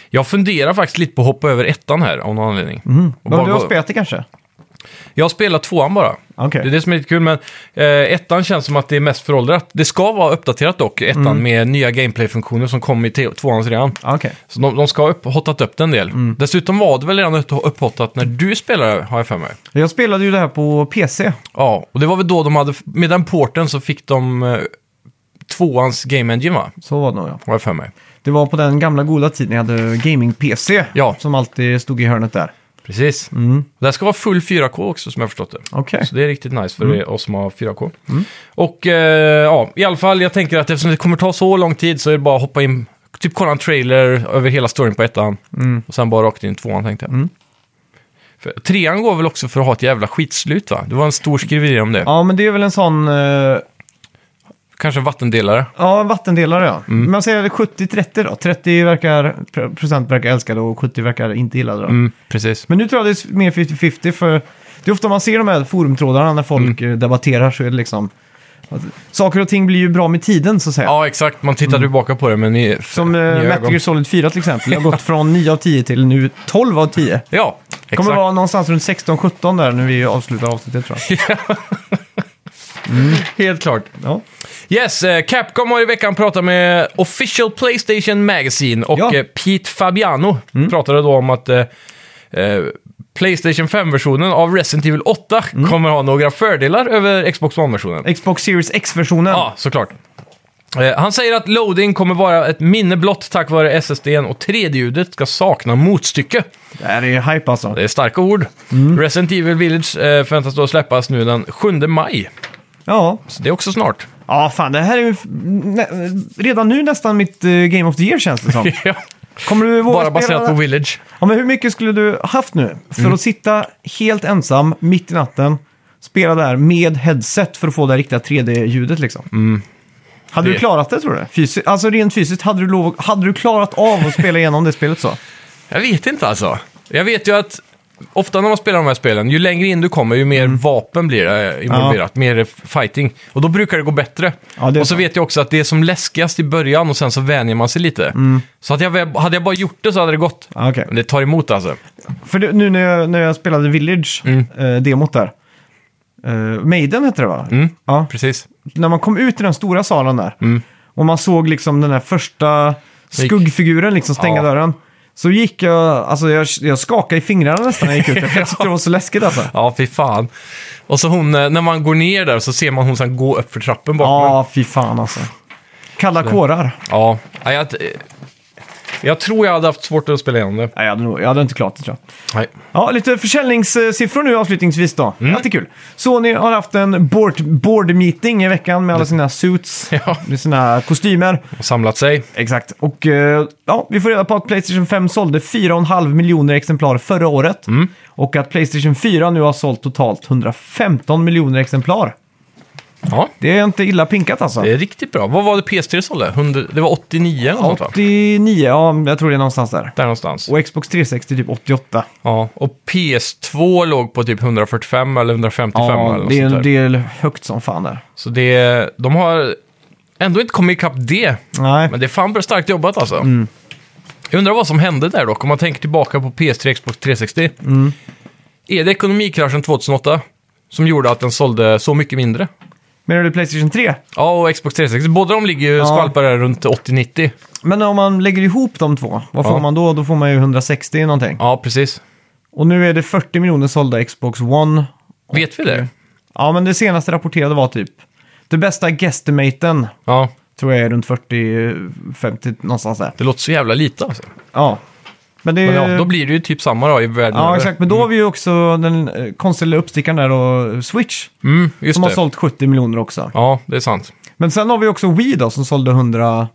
B: jag funderar faktiskt lite på att hoppa över ettan här av någon anledning. Och
A: Men
B: bara
A: du Mhm. har
B: gå-
A: spelat det kanske?
B: Jag har spelat tvåan bara.
A: Okej.
B: Det är det som är lite kul, men eh, ettan känns som att det är mest föråldrat. Det ska vara uppdaterat dock, ettan, med nya gameplay-funktioner som kom i te- tvåans redan.
A: Mm. Ja, Mm. Okej.
B: Så de, de ska ha upp, hottat upp det en del. Dessutom var det väl redan upp- upphottat när du spelade, har jag för mig.
A: Jag spelade ju det här på PC.
B: Ja, och det var väl då de hade, med den porten så fick de eh, tvåans Game Engine va?
A: Så var det nog ja.
B: Har jag för mig.
A: Det var på den gamla goda tiden jag hade gaming-PC.
B: Ja.
A: Som alltid stod i hörnet där.
B: Precis. Det här ska vara full 4K också som jag har förstått det.
A: Mm. Okej.
B: Så det är riktigt nice för oss som har 4K. Och eh, ja, i alla fall, jag tänker att eftersom det kommer ta så lång tid så är det bara att hoppa in, typ kolla en trailer över hela storyn på ettan. Och sen bara rakt in i tvåan tänkte jag. För, trean går väl också för att ha ett jävla skitslut va? Det var en stor skriveri om det.
A: Ja, men det är väl en sån... eh,
B: Kanske en vattendelare.
A: ja, en vattendelare ja.
B: Mm.
A: Man säger 70-30 då. 30 verkar, pr- procent verkar älska det och 70 verkar inte gilla det. då.
B: Mm, precis.
A: Men nu tror jag det är mer 50-50 för det är ofta man ser de här forumtrådarna när folk
B: Mm.
A: eh, debatterar så är det liksom... Att, saker och ting blir ju bra med tiden så att säga.
B: Ja, exakt. Man tittar tillbaka på det men ni,
A: Som
B: nya
A: uh, Metal
B: ögon.
A: Gear Solid 4 till exempel. Jag har gått från 9 av 10 till nu 12 av 10.
B: Ja,
A: Det
B: exakt.
A: kommer vara någonstans runt 16-17 där när vi avslutar avsnittet tror jag.
B: Helt klart.
A: Ja.
B: Yes, eh, Capcom har i veckan pratat med Official Playstation Magazine och
A: Ja. Mm.
B: eh, Pete Fabiano pratade då om att eh, eh, Playstation 5-versionen av Resident Evil 8
A: Mm.
B: kommer ha några fördelar över Xbox One-versionen.
A: Xbox Series X-versionen.
B: Ja, såklart. Eh, Han säger att loading kommer vara ett minne blott tack vare SSDn och 3D-ljudet ska sakna motstycke.
A: Det här är hype alltså.
B: Det är starka ord.
A: Mm.
B: Resident Evil Village eh, förväntas då släppas nu den 7 maj,
A: Ja.
B: så det är också snart.
A: ja, fan det här är ju f- nä- redan nu nästan mitt eh, Game of the Year känns det som.
B: Ja,
A: Kommer du våga
B: Bara
A: spela
B: baserat
A: det?
B: på Mm. Village.
A: Ja, men hur mycket skulle du haft nu för att sitta helt ensam mitt i natten, spela där med headset för att få det riktiga 3D-ljudet liksom? Hade du
B: Mm. Det-
A: klarat det tror du? Fysi- alltså rent fysiskt, hade du, lov- hade du klarat av att spela igenom det spelet så?
B: Jag vet inte alltså. Jag vet ju att ofta när man spelar de här spelen, ju längre in du kommer, ju
A: Mm.
B: mer vapen blir det eh, involverat. Mer fighting. Och då brukar det gå bättre.
A: Ja, det är
B: och så
A: sant.
B: vet jag också att det är som läskigast i början och sen så vänjer man sig lite. Så att jag, väl- hade jag bara gjort det så hade det gått.
A: Mm. Ja, Ah, okej.
B: Men det tar emot alltså.
A: För det, nu när jag, när jag spelade Village, eh, demot där. Eh, Maiden hette det va? Ja.
B: Precis.
A: När man kom ut i den stora salen där. och man såg liksom den här första
B: gick-
A: skuggfiguren liksom stänga
B: Ja.
A: dörren. Så gick jag, alltså jag, jag skakade i fingrarna nästan när jag gick ut. Jag tyckte det var så läskigt alltså.
B: Ja, fy fan. Och så hon, eh, när man går ner där så ser man hon sen gå upp för trappen bakom en.
A: Ja, fy fan alltså. Kalla kårar.
B: Ja. ja jag, eh, jag tror jag hade haft svårt att spela igenom det.
A: Nej, jag hade, nog, jag hade inte klart det tror jag.
B: Nej.
A: Ja, lite försäljningssiffror nu avslutningsvis då.
B: Mm.
A: Alltid kul. Sony har haft en board, board meeting i veckan med alla sina suits,
B: Ja.
A: med sina kostymer.
B: Och samlat sig.
A: Exakt. Och eh, ja, vi får reda på att Playstation 5 sålde 4,5 miljoner exemplar förra året.
B: Mm.
A: Och att Playstation 4 nu har sålt totalt 115 miljoner exemplar.
B: Ja,
A: Det är inte illa pinkat alltså.
B: det är riktigt bra. Vad var det PS3 sålde? 100, det var 89 eller något sånt va?
A: 89, ja, jag tror det är någonstans där.
B: Där någonstans.
A: Och Xbox 360 typ 88.
B: Ja, och PS2 låg på typ 145 eller 155 eller
A: Ja,
B: något
A: det är
B: sånt
A: en
B: där.
A: del högt som fan där.
B: Så det, de har ändå inte kommit ikapp det.
A: Nej.
B: Men det är fan bra starkt jobbat alltså.
A: Mm.
B: Jag undrar vad som hände där dock, om man tänker tillbaka på PS3 Xbox 360.
A: Mm.
B: Är det ekonomikraschen 2008 som gjorde att den sålde så mycket mindre?
A: Menar du Playstation 3?
B: Ja, och Xbox 360. Båda de ligger ju och skvalpar där runt 80-90.
A: Men om man lägger ihop de två, vad får
B: Ja.
A: man då? Då får man ju 160 någonting.
B: Ja, precis.
A: Och nu är det 40 miljoner sålda Xbox One.
B: Vet vi det?
A: Ja, men det senaste rapporterade var typ... Det bästa guestimaten
B: Ja,
A: tror jag är runt 40-50 någonstans där.
B: det låter så jävla lite alltså.
A: Ja. Men det...
B: Men ja, då blir det ju typ samma då i världen
A: Eh. Ja,
B: över.
A: exakt. Men då har vi ju också den eh, konstiga uppstickaren där och Switch.
B: Mm, just
A: Som
B: det.
A: har sålt 70 miljoner också.
B: Ja, det är sant.
A: Men sen har vi också Wii då som sålde 100,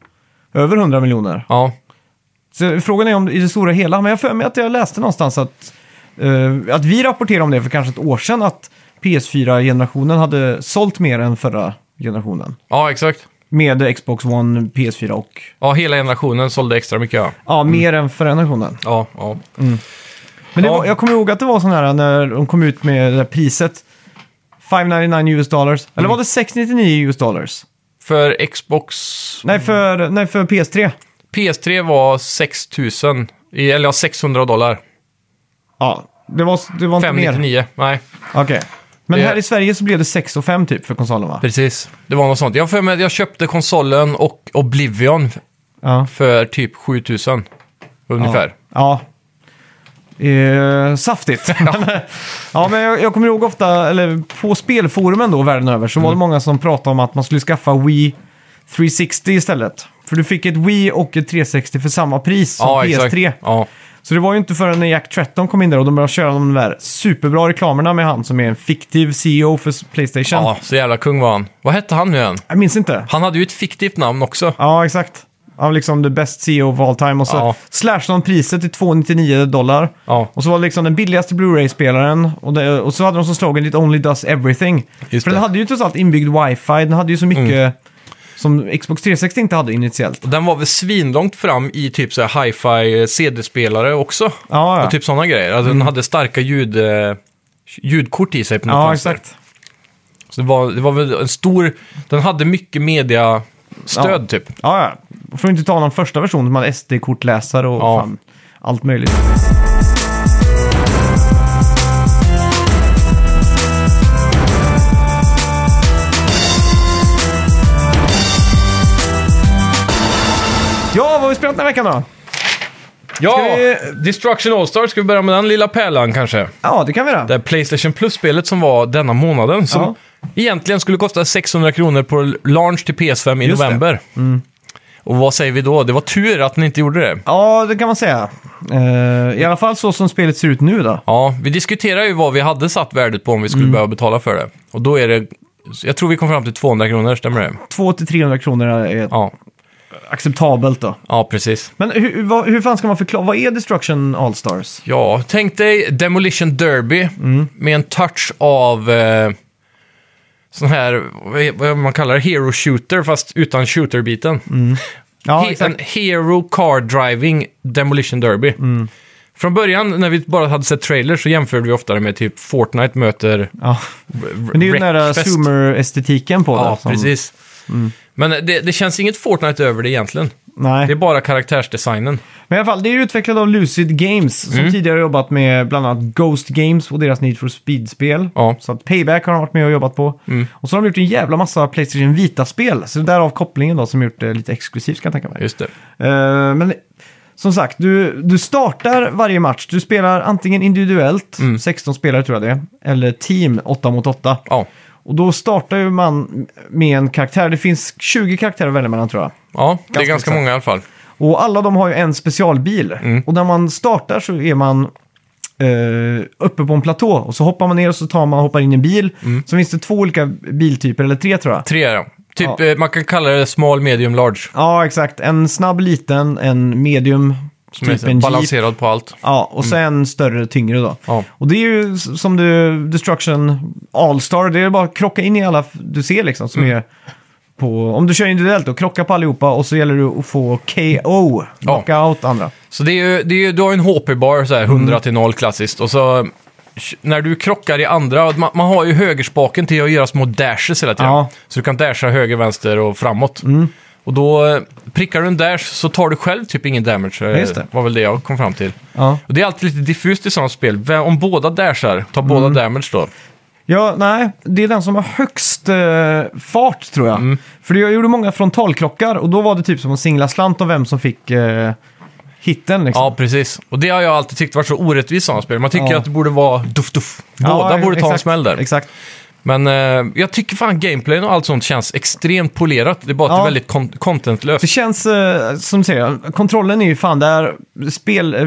A: över 100 miljoner.
B: Ja,
A: Så frågan är om i det stora hela, men jag har för mig att jag läste någonstans att, eh, att vi rapporterade om det för kanske ett år sedan att PS4-generationen hade sålt mer än förra generationen.
B: ja exakt.
A: Med Xbox One, PS4 och...
B: Ja, hela generationen sålde extra mycket ja.
A: Ja, mer än förra generationen.
B: Ja, ja.
A: Men det
B: Ja.
A: var, jag kommer ihåg att det var sån här eh, när de kom ut med det där priset. 599 US dollars.
B: Mm.
A: Eller var det 699 US dollars?
B: För Xbox...
A: Nej, för, nej, för PS3.
B: PS3 var 6000, i- eller ja, 600 dollar.
A: Ja, det var, det var inte mer.
B: 599, nej.
A: Okej. Men
B: Det-
A: här i Sverige så blev det 6 och 5 typ för konsolen va?
B: Precis. Det var något sånt. Jag har för mig att jag köpte konsolen och Oblivion
A: Ja.
B: för typ 7000. Ungefär.
A: Ja. Eh, saftigt. ja. men jag, jag kommer ihåg ofta, eller på spelforumen då världen över, så var
B: Mm.
A: det många som pratade om att man skulle skaffa Wii 360 istället. För du fick ett Wii och ett 360 för samma pris som PS3.
B: exakt. Ja.
A: Så det var ju inte förrän när Jack Tretton kom in där och de började köra de där superbra reklamerna med han som är en fiktiv CEO för Playstation.
B: ja, så jävla kung var han. Vad hette han nu igen?
A: Jag minns inte.
B: Han hade ju ett fiktivt namn också.
A: Ja, exakt. Han var liksom the best CEO of all time och så
B: Ja.
A: slashade han priset till 299 dollar.
B: Ja.
A: Och så var det liksom den billigaste Blu-ray-spelaren och, det- och så hade de som slogan “It only does everything”.
B: Just
A: För den
B: det. Mm.
A: hade ju trots allt inbyggd wifi, den hade ju så mycket som Xbox 360 inte hade initiellt.
B: Den var väl svinlångt fram i typ så här hi-fi eh, CD-spelare också.
A: Ja, ja.
B: Och typ sådana grejer. Alltså, Den hade starka ljud, eh, ljudkort i sig på något
A: ja
B: vänster.
A: exakt.
B: Så det var, det var väl en stor... Den hade mycket media stöd
A: Ja.
B: typ.
A: Ja, ja. Och Får inte ta någon första version som hade SD-kortläsare och
B: Ja.
A: fan, allt möjligt. Ja, vad har vi spelat den här veckan då?
B: Ja!
A: vi-
B: Destruction All-Star, ska vi börja med den lilla pärlan kanske?
A: Ja, det kan vi göra.
B: Det här Playstation Plus-spelet som var denna månaden, som egentligen skulle kosta 600 kronor på launch till PS5 i
A: Just det.
B: november. Och vad säger vi då? Det var tur att den inte gjorde det.
A: Ja, det kan man säga. Eh, I alla fall så som spelet ser ut nu då.
B: Ja, vi diskuterar ju vad vi hade satt värdet på om vi skulle
A: Mm.
B: behöva betala för det. Och då är det... Jag tror vi kom fram till 200 kronor, stämmer det?
A: 200-300 kronor är
B: Ja,
A: acceptabelt då.
B: ja precis.
A: Men hur, vad, hur fan ska man förklara, vad är Destruction All-Stars?
B: Ja, tänk dig Demolition Derby
A: Mm.
B: med en touch av eh, sån här, vad är- vad man kallar det, Hero Shooter, fast utan shooter-biten.
A: Mm. Ja,
B: He- en Hero Car Driving Demolition Derby.
A: Mm.
B: Från början, när vi bara hade sett trailers, så jämförde vi ofta det med typ Fortnite möter
A: Ja. Men det är ju den där äh,
B: Wreckfest.
A: zoomer-estetiken på det.
B: Ja,
A: som- Mm.
B: precis. Men det, det känns inget Fortnite över det egentligen.
A: Nej.
B: Det är bara karaktärsdesignen.
A: Men i alla fall, det är utvecklat av Lucid Games som
B: Mm.
A: tidigare jobbat med bland annat Ghost Games och deras Need for Speed-spel.
B: Ja. Mm.
A: Så att Payback har de varit med och jobbat på. Och så har de gjort en jävla massa Playstation Vita-spel. Så därav kopplingen då som gjort det lite exklusivt kan jag tänka mig.
B: Just det.
A: Eh, men som sagt, du, du startar varje match. Du spelar antingen individuellt, 16 spelare tror jag det är, eller team 8 mot 8.
B: Mm. Ja.
A: Och då startar ju man med en karaktär. Det finns 20 karaktärer att välja mellan tror jag.
B: Ja, det är
A: Ganska
B: ganska
A: exakt.
B: många i alla fall.
A: Och alla de har ju en specialbil.
B: Mm.
A: Och när man startar så är man eh, uppe på en platå. Och så hoppar man ner och så tar man, hoppar in i en bil. Så finns det två olika biltyper, eller tre tror jag.
B: Mm. Tre är det. Typ,
A: Ja.
B: eh, man kan kalla det small, medium, large.
A: Ja, exakt. En snabb liten, en medium,
B: Som
A: typ
B: är
A: en jeep.
B: balanserad på allt.
A: Ja, och sen större, tyngre då.
B: Mm. Ja.
A: Och det är ju s- som du, Destruction All-Star, det är bara att krocka in i alla f- du ser liksom som
B: Mm.
A: är på, om du kör individuellt då, krocka på allihopa och så gäller det att få KO, knockout andra.
B: Så det är ju, det är ju, du har ju en HP-bar, så här 100
A: Mm.
B: till 0 klassiskt. Och så när du krockar i andra, man, man har ju högerspaken till att göra små dashes hela tiden.
A: Ja. Mm.
B: Så du kan dasha höger, vänster och framåt. Och då eh, prickar du en dash så tar du själv typ ingen damage. eh,
A: just det.
B: var väl det jag kom fram till.
A: Ja.
B: Och det är alltid lite diffust i sådana spel. Vem- Om båda dashar, tar båda damage då?
A: ja, nej, det är den som har högst eh, fart tror jag.
B: Mm.
A: För jag gjorde många frontalkrockar och då var det typ som att singla slant om vem som fick eh, hitten liksom.
B: Ja, precis. Och det har jag alltid tyckt varit så orättvist i sådana spel. Man tycker
A: Ja.
B: att det borde vara duff-duff.
A: Ja,
B: Båda borde ta en
A: exakt,
B: smäll där.
A: Exakt.
B: Men eh, jag tycker fan gameplayen och allt sånt känns extremt polerat. Det är bara att
A: Ja.
B: det är väldigt kon- contentlöst.
A: Det känns, eh, som du säger, kontrollen är ju fan där, spel, eh,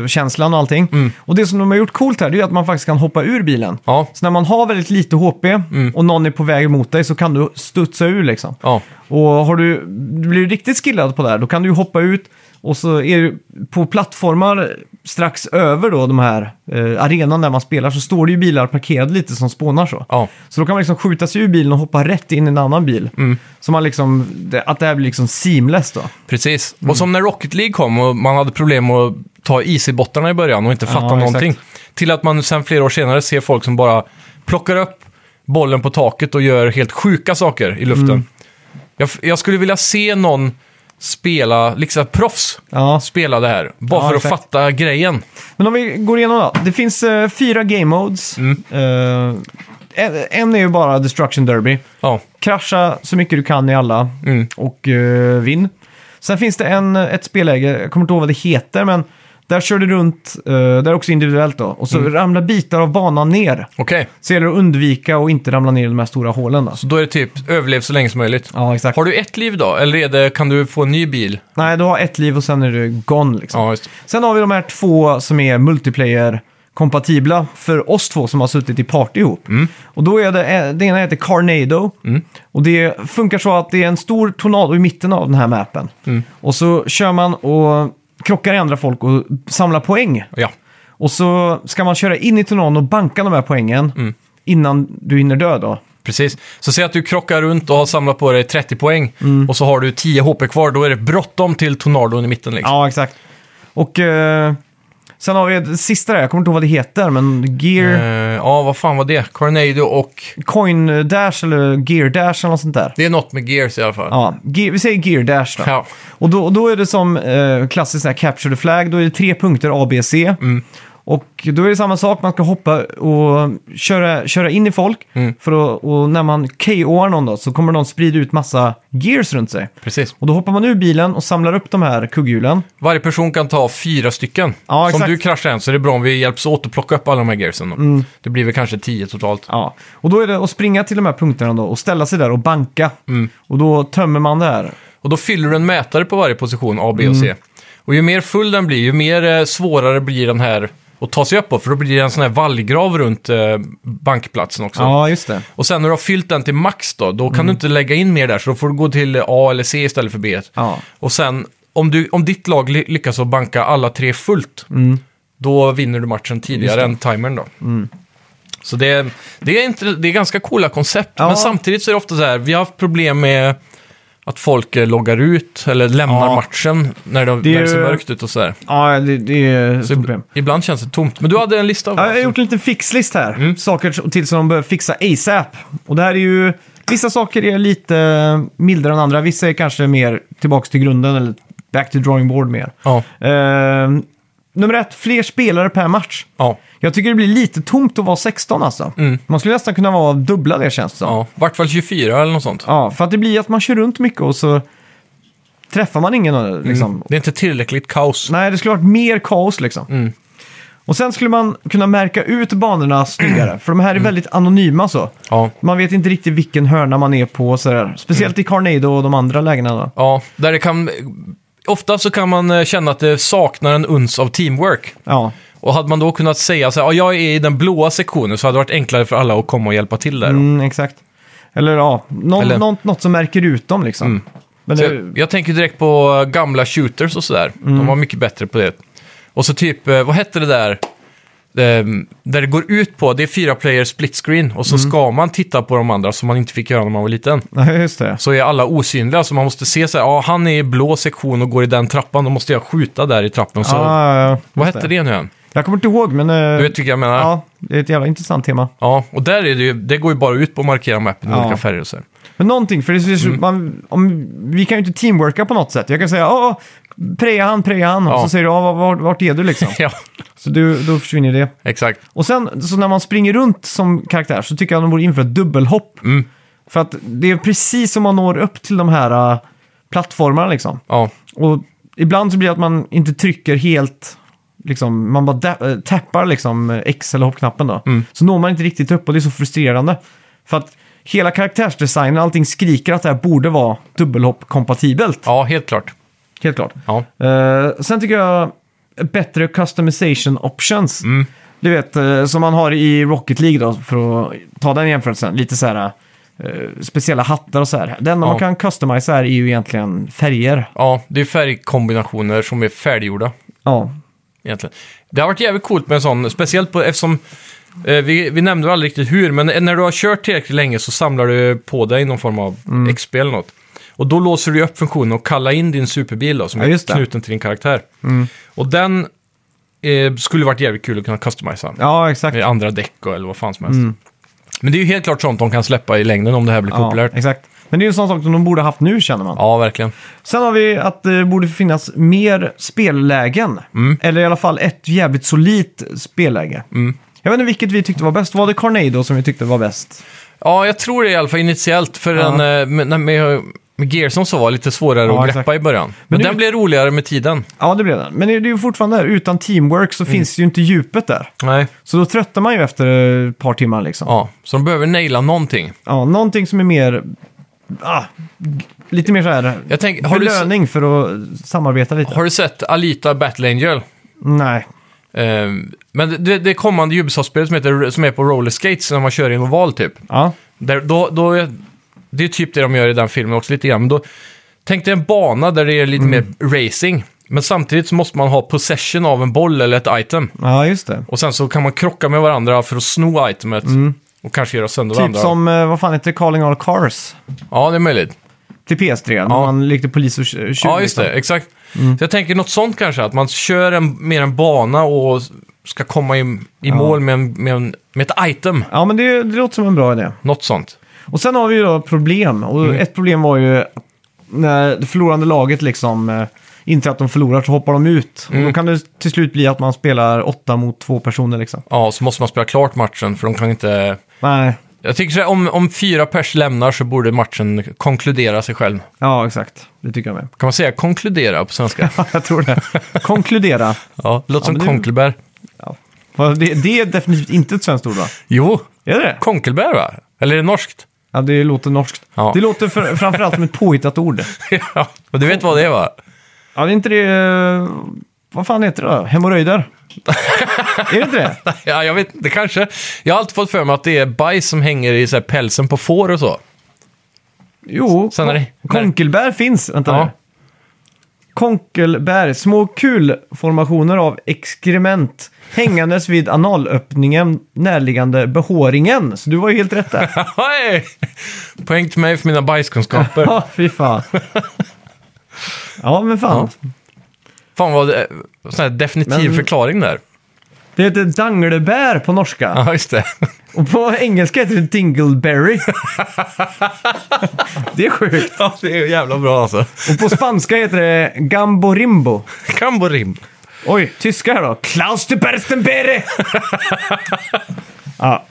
A: bilkänslan och allting. Och det som de har gjort coolt här, det är ju att man faktiskt kan hoppa ur bilen.
B: Ja,
A: Så när man har väldigt lite HP och någon är på väg mot dig så kan du studsa ur liksom.
B: ja,
A: Och har du, du blir du riktigt skillad på det här, då kan du ju hoppa ut och så är du på plattformar strax över då de här eh, arenan där man spelar så står det ju bilar parkerade lite som spånar så.
B: ja.
A: Så då kan man liksom skjuta sig ur bilen och hoppa rätt in i en annan bil.
B: Mm.
A: Så man liksom, det- att det här blir liksom seamless då.
B: Precis.
A: Mm.
B: Och som när Rocket League kom och man hade problem att ta IC-bottarna i början och inte fatta
A: exakt.
B: någonting. Till att man sen flera år senare ser folk som bara plockar upp bollen på taket och gör helt sjuka saker i luften.
A: Mm.
B: Jag, jag skulle vilja se någon spela, liksom proffs,
A: Ja.
B: spela det här. Bara
A: Ja,
B: för att
A: exakt.
B: fatta grejen.
A: Men om vi går igenom då. Det finns eh, fyra game modes.
B: Mm.
A: Eh, en, en är ju bara Destruction Derby.
B: Ja,
A: Krascha så mycket du kan i alla
B: Mm.
A: och eh, vinn. Sen finns det en, ett spelläge, jag kommer inte ihåg vad det heter, men där kör du runt, eh, där är också individuellt då, och
B: Mm.
A: så ramlar bitar av banan ner.
B: okej.
A: Så gäller det att undvika och inte ramla ner i de här stora hålen. Då.
B: Så då är det typ överlev så länge som möjligt.
A: Ja, exakt.
B: Har du ett liv då? Eller är det, kan du få en ny bil?
A: Nej, du har ett liv och sen är du gone liksom.
B: Ja, just det.
A: Sen har vi de här två som är multiplayer-kompatibla för oss två som har suttit i party ihop. Och då är det, det ena heter Carnado. Och det funkar så att det är en stor tornado i mitten av den här mappen. Och så kör man och krockar i andra folk och samlar poäng.
B: Ja.
A: Och så ska man köra in i tornadon och banka de här poängen innan du hinner dö då.
B: Precis. Så säg att du krockar runt och har samlat på dig 30 poäng
A: Mm.
B: och så har du 10 HP kvar. Då är det bråttom till tornadon i mitten. Liksom.
A: Ja, exakt. Och eh, sen har vi det sista där, jag kommer inte ihåg vad det heter, men Gear...
B: Ja. Eh, ja, vad fan var det? Coronado och...
A: Coin Dash eller Gear Dash eller något sånt där.
B: Det är något med Gears i alla fall.
A: Ja, ge- vi säger Gear Dash då.
B: Ja.
A: Och då, då är det som eh, klassiskt sån här Capture the Flag, då är det tre punkter A, B, C. Och då är det samma sak, man ska hoppa och köra, köra in i folk. För att, och när man KO'ar någon då så kommer de sprida ut massa gears runt sig.
B: Precis.
A: Och då hoppar man ur bilen och samlar upp de här kugghjulen.
B: Varje person kan ta fyra stycken.
A: Ja,
B: så om
A: exakt. Mm.
B: du kraschar en så är det bra om vi hjälps åt att plocka upp alla de här gearsen. då. Det blir väl kanske 10 totalt.
A: Ja, och då är det att springa till de här punkterna då och ställa sig där och banka. Och då tömmer man det här.
B: Och då fyller du en mätare på varje position, A, B och
A: Mm.
B: C. Och ju mer full den blir, ju mer eh, svårare blir den här att ta sig upp på. För då blir det en sån här vallgrav runt eh, bankplatsen också.
A: Ja, just det.
B: Och sen när du har fyllt den till max då, då
A: Mm.
B: kan du inte lägga in mer där. Så då får du gå till A eller C istället för B.
A: Ja.
B: Och sen, om, du, om ditt lag ly- lyckas att banka alla tre fullt,
A: Mm.
B: då vinner du matchen tidigare än timern då. Så det, det, är inte, det är ganska coola koncept,
A: Ja.
B: men samtidigt så är det ofta så här, vi har haft problem med att folk eh, loggar ut eller lämnar
A: Ja.
B: matchen när det,
A: Det är
B: när det ser
A: ju-
B: mörkt ut och så här.
A: Ja, det, det är ett
B: Så
A: problem.
B: ib- ibland känns det tomt. Men du hade en lista? va? Mm.
A: Ja, jag har gjort en liten fixlist här. Saker till som de behöver fixa ASAP. Och det här är ju Vissa saker är lite mildare än andra. Vissa är kanske mer tillbaka till grunden eller back to drawing board mer.
B: Ja.
A: Eh, nummer ett, fler spelare per match.
B: Ja.
A: Jag tycker det blir lite tomt att vara 16 alltså. Man skulle nästan kunna vara dubbla det känns det som.
B: Mm. Ja, i vart fall 24 eller något sånt.
A: Ja, för att det blir att man kör runt mycket och så träffar man ingen. Liksom.
B: Mm. Det är inte tillräckligt kaos.
A: Nej, det skulle varit mer kaos liksom.
B: Mm.
A: Och sen skulle man kunna märka ut banorna snyggare, för de
B: Mm.
A: här är väldigt anonyma så.
B: Ja.
A: Man vet inte riktigt vilken hörna man är på och sådär.
B: Mm.
A: Speciellt i Carnado och de andra lägena då.
B: ja, där det kan... Ofta så kan man eh, känna att det saknar en uns av teamwork.
A: Ja,
B: Och hade man då kunnat säga så här, "Ja, jag är i den blåa sektionen, så hade det varit enklare för alla att komma och hjälpa till där.
A: mm, exakt. Eller ja, någon,
B: Eller- Mm.
A: Något, något som märker ut dem liksom. Men
B: Så
A: det, Mm.
B: jag, jag tänker direkt på eh, gamla shooters och sådär. De var mycket bättre på det. Och så typ, eh, vad hette det där? Ehm, där det går ut på, det är fyra player split screen och så
A: Mm.
B: ska man titta på de andra som man inte fick göra när man var liten.
A: nej, just det.
B: Så är alla osynliga, så man måste se så här, ja han är i blå sektion och går i den trappan, då måste jag skjuta där i trappan. Så,
A: Ah, ja, ja,
B: vad
A: just
B: hette det nu än?
A: Jag kommer inte ihåg, men... eh,
B: Du vet vilka jag menar? Ja.
A: ja, det är ett jävla intressant tema.
B: och där är det ju, det går ju bara ut på att markera mappen i
A: Ja.
B: olika färger och så här.
A: Men någonting, för det är
B: Mm.
A: så, man, om, vi kan ju inte teamworka på något sätt. Jag kan säga åh, preja han, preja han. Och
B: Ja.
A: så säger du, "Ja, vart, vart är du liksom?
B: Ja,
A: så du, då försvinner det.
B: exakt.
A: Och sen, så när man springer runt som karaktär så tycker jag de borde införa ett dubbelhopp. För att det är precis som man når upp till de här äh, plattformarna liksom.
B: Ja,
A: Och ibland så blir det att man inte trycker helt, liksom, man bara da- äh, tappar liksom äh, X eller hoppknappen då. Så når man inte riktigt upp och det är så frustrerande. För att hela karaktärsdesignen, allting skriker att det här borde vara dubbelhopp-kompatibelt.
B: ja helt klart.
A: Helt klart.
B: Ja.
A: Eh, sen tycker jag bättre customization options.
B: Mm.
A: Du vet, eh, som man har i Rocket League då, för att ta den jämförelsen. Lite så här eh, speciella hattar och så här. Det enda
B: Ja.
A: man kan customize här är ju egentligen färger.
B: Ja, det är färgkombinationer som är färdiggjorda
A: Ja,
B: egentligen. Det har varit jävligt coolt med en sån, speciellt på, eftersom eh, vi, vi nämnde väl aldrig riktigt hur, men när du har kört tillräckligt länge så samlar du på dig någon form av
A: Mm.
B: XP eller något. Och då låser du ju upp funktionen och kallar in din superbil då, som
A: Ja,
B: är
A: just det. Mm.
B: knuten till din karaktär. Och den eh, skulle varit jävligt kul att kunna customisa
A: ja exakt.
B: med andra däck och, eller vad fan som helst. Men det är ju helt klart sånt de kan släppa i längden om det här blir populärt.
A: Ja, exakt. Men det är ju en sån sak som de borde haft nu känner man.
B: Ja, verkligen.
A: Sen har vi att det borde finnas mer spellägen.
B: Mm.
A: Eller i alla fall ett jävligt solitt spelläge. Jag vet inte vilket vi tyckte var bäst. Var det Carnado som vi tyckte var bäst?
B: Ja, jag tror det i alla fall initiellt. För
A: Ja.
B: den, eh, med, när- med, med Gearson så var det lite svårare
A: Ja,
B: att greppa
A: exakt.
B: i början. Men,
A: nu-
B: den blev roligare med tiden.
A: Ja, det blev den. Men det är ju fortfarande där, utan teamwork
B: Mm.
A: så finns ju inte djupet där.
B: Nej.
A: Så då tröttar man ju efter ett par timmar liksom. Ja.
B: Ja, så de behöver naila någonting.
A: någonting som är mer... Ah, g- lite mer så här...
B: Jag tänker, har, du, se-
A: Belöning för att samarbeta lite.
B: har du sett Alita Battle Angel?
A: Nej.
B: Eh, men det, det kommande Ubisoft-spelet som, heter, som är på roller skates när man kör i en oval typ.
A: Ja.
B: Där, då, då, är- det är typ det de gör i den filmen också lite grann. Men då, tänk dig en bana där det är lite
A: Mm.
B: mer racing. Men samtidigt så måste man ha possession av en boll eller ett item.
A: ja, just det.
B: Och sen så kan man krocka med varandra för att sno itemet. Och kanske göra sönder
A: Mm. Typ
B: varandra.
A: som, eh, vad fan heter det, Calling All Cars?
B: Ja, det är möjligt.
A: Till PS3, när man lekte polis och tju- tjuv.
B: Ja, just det.
A: liksom.
B: Exakt. Så jag tänker något sånt kanske. Att man kör en, mer en bana och ska komma i, i mål med, en, med, en, med ett item.
A: Ja, men det, det låter som en bra idé.
B: Något sånt.
A: Och sen har vi ju då problem. Och ett problem var ju när det förlorande laget liksom eh, inte att de förlorar så hoppar de ut. Och då kan det till slut bli att man spelar åtta mot två personer liksom.
B: Ja, så måste man spela klart matchen för de kan inte...
A: Nej,
B: Jag tycker så här, om, om fyra pers lämnar så borde matchen konkludera sig själv.
A: ja exakt. Det tycker jag med.
B: Kan man säga konkludera på svenska?
A: jag tror det. Konkludera.
B: ja, det låter
A: men
B: som
A: det-
B: konkelbär.
A: Ja. Va, Det, det är definitivt inte ett svenskt ord va?
B: Jo,
A: Är det
B: konkelbär va? Eller är det norskt?
A: Ja, det låter norskt.
B: Ja.
A: Det låter för, framförallt som ett påhittat ord.
B: ja, och du vet vad det är va?
A: Ja, det är inte det... eh, Vad fan heter det då? Hemorrojder? är det inte det?
B: Ja, jag vet inte, kanske. Jag har alltid fått för mig att det är bajs som hänger i så här pälsen på får och så.
A: Jo,
B: Sen är det-
A: kon- konkelbär finns. Vänta
B: Ja.
A: nu. Konkelbär, små kulformationer av exkrement hängandes vid analöppningen närliggande behåringen. Så du var ju helt rätt där.
B: Hej! Poäng till mig för mina bajskunskaper.
A: Ja, fy fan. Ja, men fan.
B: Fan vad eh, sån här definitiv
A: Men-
B: förklaring där.
A: Det heter danglebär på norska.
B: Ja, just det.
A: Och på engelska heter det dingleberry. det är sjukt.
B: Ja, det är jävla bra alltså.
A: Och på spanska heter det gamborimbo.
B: Kamborim.
A: Oj, tyska här då. Klaus de Berstenberre! ja.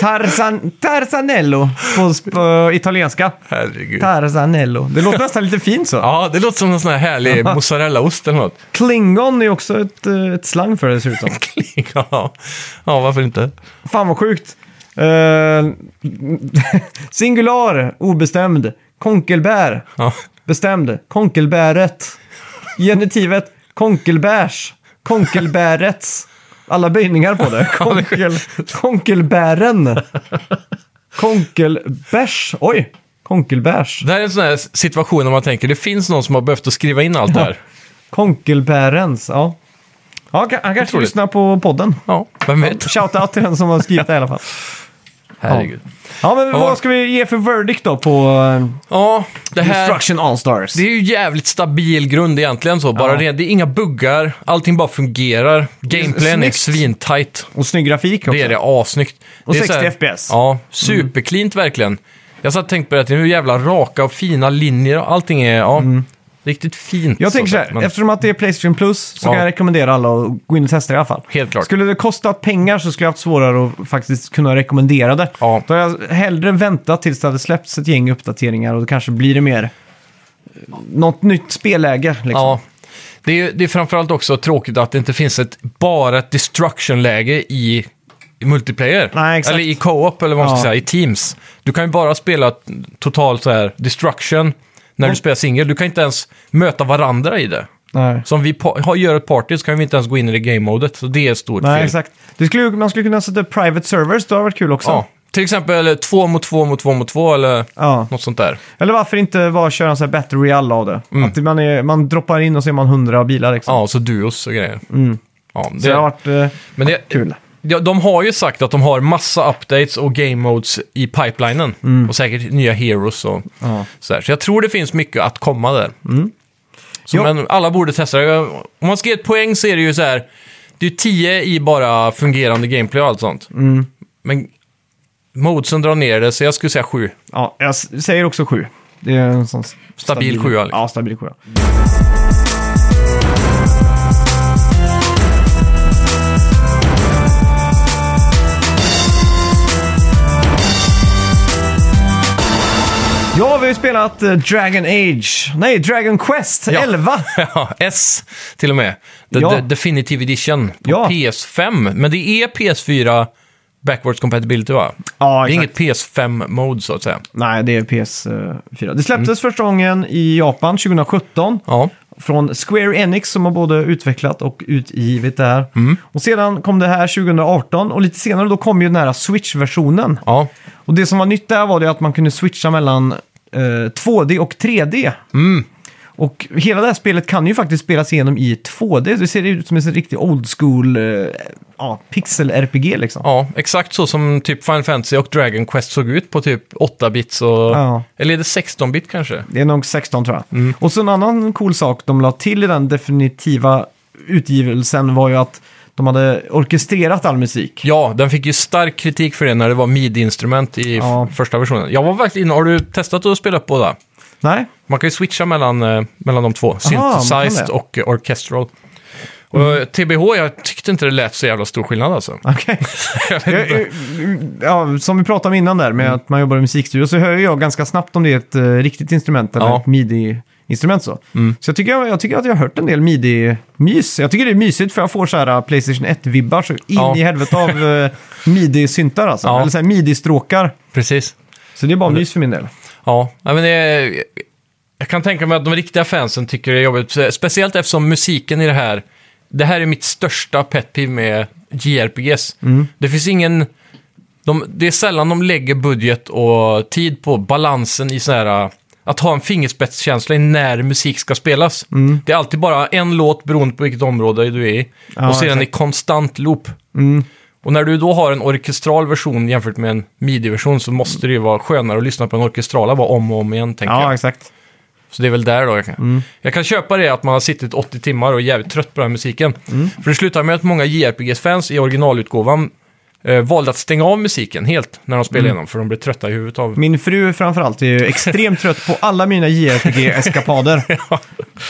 A: Tarzan, tarzanello på, sp- på italienska.
B: Herregud.
A: Tarzanello. Det låter nästan lite fint så.
B: Ja, det låter som en sån här härlig mozzarellaost eller något.
A: Klingon är också ett, eh, ett slang för det dessutom.
B: Ja, ja varför inte?
A: Fan vad sjukt. Eh, singular, obestämd. Konkelbär,
B: Ja.
A: bestämd. Konkelbäret. Genitivet, konkelbärs. Konkelbärets. Alla böjningar på det. Konkel, konkelbären. Konkelbärs. Oj, konkelbärs.
B: Det här är en sån här situation när man tänker det finns någon som har behövt att skriva in allt det här.
A: Konkelbärens, ja. ja ka- han kanske
B: Otroligt.
A: lyssnar på podden.
B: Ja, vem vet?
A: Shout out till den som har skrivit det i alla fall.
B: Herregud.
A: Ja, men
B: Ja.
A: vad ska vi ge för verdict då på eh,
B: Ja, det här...
A: Destruction All-Stars?
B: Det är ju jävligt stabil grund egentligen så. Bara
A: Ja.
B: det, det är inga buggar, allting bara fungerar. Gameplayen är
A: snyggt.
B: svintight.
A: Och snygg grafik också.
B: Det är det, assnyggt.
A: Och
B: det är
A: 60
B: så här-
A: FPS.
B: Ja, supercleant verkligen. Jag satt och tänkte på det, att det är ju jävla raka och fina linjer och allting är, ja, riktigt fint.
A: Mm. Jag tänker så här,
B: sett, men-
A: eftersom att det är Playstation Plus så
B: Ja.
A: kan jag rekommendera alla att gå in och testa det i alla fall.
B: Helt klart.
A: Skulle det kostat pengar så skulle jag haft svårare att faktiskt kunna rekommendera det.
B: Ja.
A: Då har jag hellre väntat tills det hade släppts ett gäng uppdateringar och då kanske blir det mer... eh, Något nytt spelläge liksom.
B: Ja. Det är, det är framförallt också tråkigt att det inte finns ett, bara ett destruction-läge i, i multiplayer.
A: Nej, exakt.
B: Eller i co-op, eller vad man ska
A: Ja.
B: säga, i teams. Du kan ju bara spela t- total så här destruction när du spelar singel. Du kan inte ens möta varandra i det.
A: Nej.
B: Så om vi pa- har- gör ett party så kan vi inte ens gå in i det game-modet. Så det är ett stort
A: Nej,
B: fel.
A: exakt. Det skulle, ju- man skulle kunna sätta upp private servers, det har varit kul också.
B: Ja, till exempel två mot två mot två mot två eller
A: Ja.
B: något sånt där.
A: Eller varför inte bara köra en sån här battle royale av det? Att man, är, man droppar in och ser man hundra bilar liksom.
B: Mm. Ja, så duos och grejer. Ja,
A: Mm. Så det har varit eh,
B: Men det,
A: kul.
B: Ja, de har ju sagt att de har massa updates och game modes i pipelinen. Och säkert nya heroes och
A: Mm. Ja. Mm.
B: sådär. Så jag tror det finns mycket att komma där. Så,
A: Jo.
B: men alla borde testa det. Om man ska ge ett poäng så är det ju så här. Det är 10 i bara fungerande gameplay och allt sånt.
A: Mm.
B: Men modesen drar ner det, så jag skulle säga 7.
A: Ja, jag s- säger också sju. Det är en sån stabil,
B: sjua, liksom.
A: Ja, stabil sjua. Ja, vi har ju spelat eh, Dragon Age. Nej, Dragon Quest
B: Ja.
A: 11.
B: Ja, S till och med. The,
A: Ja.
B: the Definitive Edition på
A: Ja.
B: PS5. Men det är PS4 Backwards Compatibility va?
A: Ja,
B: det är
A: exakt.
B: inget PS5-mode så att säga.
A: Nej, det är PS4. Det släpptes första gången i Japan 2017.
B: Mm. Ja,
A: Från Square Enix som har både utvecklat och utgivit det här. Och sedan kom det här 2018 och lite senare då kom ju den här Switch-versionen.
B: ja.
A: Och det som var nytt där var det att man kunde switcha mellan eh, 2D och 3D. Och hela det här spelet kan ju faktiskt spelas igenom i 2D. Det ser ut som en sån riktig old school eh, ja, pixel-RPG liksom.
B: ja, exakt så som typ Final Fantasy och Dragon Quest såg ut på typ 8-bits och...
A: Ja.
B: Eller är det 16-bit kanske?
A: Det är nog 16 tror jag. Och så en annan cool sak de la till i den definitiva utgivelsen var ju att de hade orkestrerat all musik.
B: Ja, den fick ju stark kritik för det när det var midi-instrument i f-
A: Ja.
B: första versionen. Jag var verkligen inne- har du testat att spela upp båda?
A: Nej?
B: Man kan ju switcha mellan, eh, mellan de två.
A: man kan
B: Synthesized
A: det. Mm.
B: och eh, orchestral. Och, eh, TBH, jag tyckte inte det lät så jävla stor skillnad alltså.
A: Okej. Jag- jag- ja, som vi pratade om innan där
B: Mm.
A: med att man jobbar i musikstudio så hör ju jag ganska snabbt om det är ett eh, riktigt instrument eller
B: Ja. Mm.
A: ett midi-instrument. Så, så jag, tycker jag, jag tycker att jag har hört en del midi-mys. Jag tycker det är mysigt för jag får så här eh, Playstation 1-vibbar så in
B: Ja.
A: i helvete av eh, midi-syntar alltså.
B: Ja.
A: Eller så här midi-stråkar.
B: Precis.
A: Så det är bara mys för min del.
B: Ja, nej, men det, är- jag kan tänka mig att de riktiga fansen tycker det är jobbigt. eh, Speciellt eftersom musiken i det här, det här är mitt största pet peeve med JRPGs. Det finns ingen, de, det är sällan de lägger budget och tid på balansen i så här, eh, att ha en fingerspetskänsla i när musik ska spelas. Det är alltid bara en låt beroende på vilket område du är i. och så är den i konstant loop. Och när du då har en orkestral version jämfört med en midi-version så måste det ju vara skönare att lyssna på en orkestrala bara om och om igen, tänker
A: Ja, Mm.
B: jag.
A: exakt.
B: Så det är väl där då. Jag kan, jag kan köpa det att man har suttit 80 timmar och är jävligt trött på den här musiken.
A: Mm.
B: För det slutar med att många JRPG-fans i originalutgåvan eh, valde att stänga av musiken helt när de spelade
A: Mm.
B: igenom. För de blev trötta i huvudet av...
A: Min fru framförallt är ju extremt trött på alla mina JRPG-eskapader.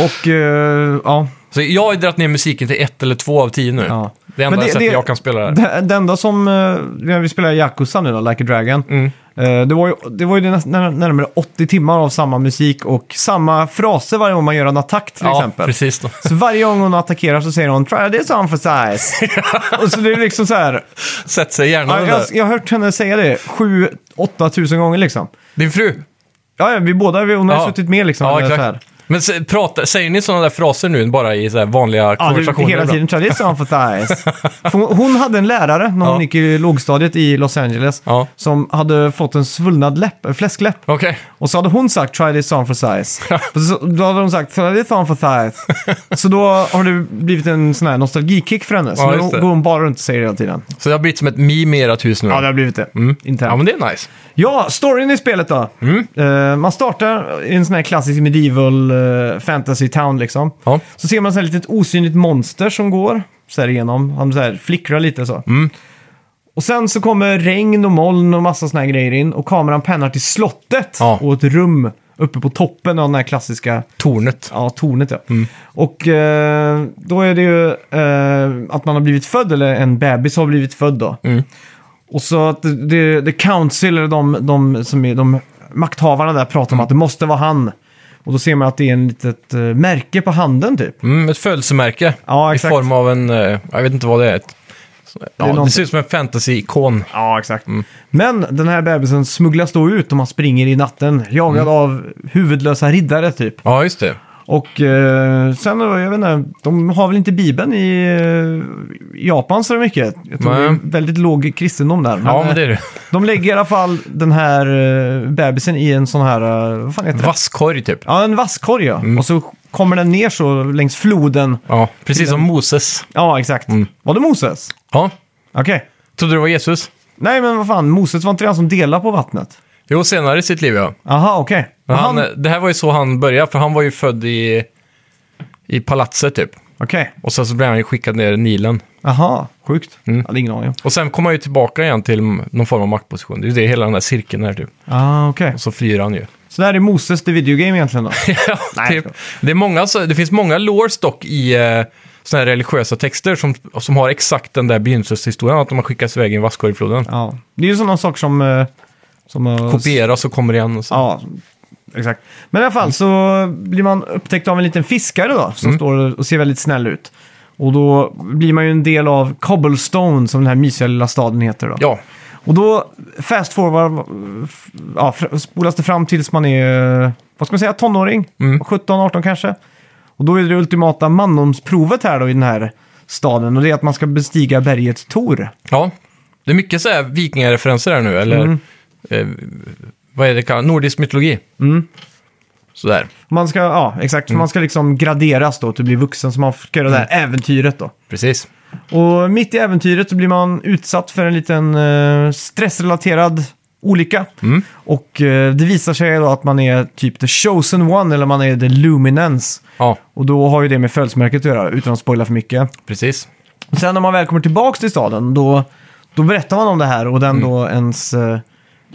A: Och eh, ja,
B: Så jag har ju dragit ner musiken till ett eller två av tio nu.
A: Ja.
B: Det enda
A: Men det-
B: sättet
A: det-
B: jag kan spela det här.
A: det, det enda som, eh, när vi spelade Yakuza nu då, Like a Dragon.
B: Mm.
A: eh, det var ju, det var ju det näst- när- närmare 80 timmar av samma musik och samma fraser varje gång man gör en attack till
B: ja,
A: exempel.
B: precis. Då.
A: Så varje gång hon attackerar så säger hon “Try this on for size”. och så det är liksom så här,
B: Sätt sig gärna
A: ja,
B: den
A: jag,
B: där.
A: jag har hört henne säga det 7-8 tusen gånger liksom.
B: Din fru.
A: Ja, ja, vi båda, vi, hon har
B: Ja.
A: suttit med liksom.
B: Ja,
A: eller så
B: exakt.
A: här.
B: Men se- prata, säger ni sådana där fraser nu bara i så här vanliga
A: Ja, det,
B: konversationer?
A: hela
B: ibland?
A: tiden “Try this on for size”. För hon, hon hade en lärare när hon
B: Ja.
A: gick i lågstadiet i Los Angeles
B: Ja.
A: som hade fått en svullnad läpp, en fläskläpp.
B: Okej.
A: Och så hade hon sagt “Try this on for size”. Och så, då hade hon sagt “Try this on for size”. så då har det blivit en sån här nostalgikick för henne. Så
B: Ja,
A: nu
B: just det.
A: går hon bara runt och säger det hela tiden.
B: Så det har blivit som ett meme i ert hus nu?
A: Ja, det har blivit det.
B: Mm. ja,
A: Internt.
B: men Mm. det är nice.
A: Ja, storyn i spelet då. Eh, man startar i en sån här klassisk medieval eh, fantasy town liksom.
B: Ja.
A: Så ser man så här litet osynligt monster som går så här igenom. Han så här flickrar lite så. Och sen så kommer regn och moln och massa såna här grejer in. Och kameran pennar till slottet
B: Ja.
A: och ett rum uppe på toppen av den här klassiska
B: Tornet.
A: Ja, tornet ja. Och eh, då är det ju eh, att man har blivit född, eller en bebis har blivit född då. Och så att det, det, det council, eller de, de som är de makthavarna där, pratar om att det måste vara han. Och då ser man att det är en litet eh, märke på handen typ.
B: Mm, ett födelsemärke.
A: Ja,
B: I
A: exakt.
B: form av en, eh, jag vet inte vad det är. Ett- så- Ja, det,
A: någonting.
B: ser ut som en fantasy-ikon.
A: Ja, exakt.
B: Mm.
A: Men den här bebisen smugglas då ut och man springer i natten, jagad
B: Mm.
A: av huvudlösa riddare typ.
B: Ja, just det.
A: Och eh, sen, eh, jag vet inte, de har väl inte Bibeln i eh, Japan så mycket. Jag tror
B: Nej.
A: det är väldigt låg kristendom där.
B: Ja,
A: eh,
B: men det är det.
A: De lägger i alla fall den här eh, bebisen i en sån här, eh, vad fan heter det?
B: Vasskorg typ.
A: Ja, en vasskorg ja.
B: Mm.
A: Och så kommer den ner så längs floden.
B: Ja, precis som
A: Mm.
B: Moses.
A: Ja, exakt.
B: Mm.
A: Var det Moses?
B: Ja.
A: Okej.
B: Trodde det var Jesus?
A: Nej, men vad fan, Moses var inte han som delade på vattnet?
B: Jo, senare i sitt liv ja.
A: Aha, okej.
B: Men
A: Men
B: han,
A: Okej.
B: Det här var ju så han började, för han var ju född i, i palatset typ. Och sen så blev han ju skickad ner i Nilen.
A: Aha, Mm. sjukt. Jag hade ingen aning om.
B: Och sen kom han ju tillbaka igen till någon form av maktposition. Det är ju det hela den där cirkeln är typ.
A: Ah, okej.
B: Och så flyr han ju.
A: Så det här är Moses the videogame egentligen då?
B: Ja,
A: Nej,
B: typ.
A: jag
B: det, är många, så- det finns många lores dock i eh, såna här religiösa texter som, som har exakt den där begynnelseshistorien, att de har skickats iväg i en vasskorg i floden.
A: Ja, det är ju sådana saker som... eh, som eh,
B: Kopieras och kommer igen och så.
A: Ja, exakt. Men i alla fall så blir man upptäckt av en liten fiskare då, som står och ser väldigt snäll ut. Och då blir man ju en del av Cobblestone, som den här mysiga lilla staden heter då.
B: Ja,
A: Och då fast forward, f- ja, fr- spolas det fram tills man är, eh, vad ska man säga, tonåring? 17-18 kanske. Och då är det ultimata mandomsprovet här då i den här staden. Och det är att man ska bestiga berget Tor.
B: ja. det är mycket så här vikingareferenser här nu, eller
A: Mm.
B: eh, vad är det kallat? Nordisk mytologi.
A: Mm.
B: Sådär.
A: Man ska, ja, exakt. Man ska liksom graderas då till att bli vuxen, så man ska göra det här äventyret då.
B: Precis.
A: Och mitt i äventyret så blir man utsatt för en liten eh, stressrelaterad olycka. Och eh, det visar sig då att man är typ the chosen one, eller man är the luminance.
B: Ja,
A: Och då har ju det med födelsemärket att göra, utan att spoila för mycket.
B: precis.
A: Och Sen när man väl kommer tillbaka till staden, då, då berättar man om det här och den
B: Mm.
A: då ens eh,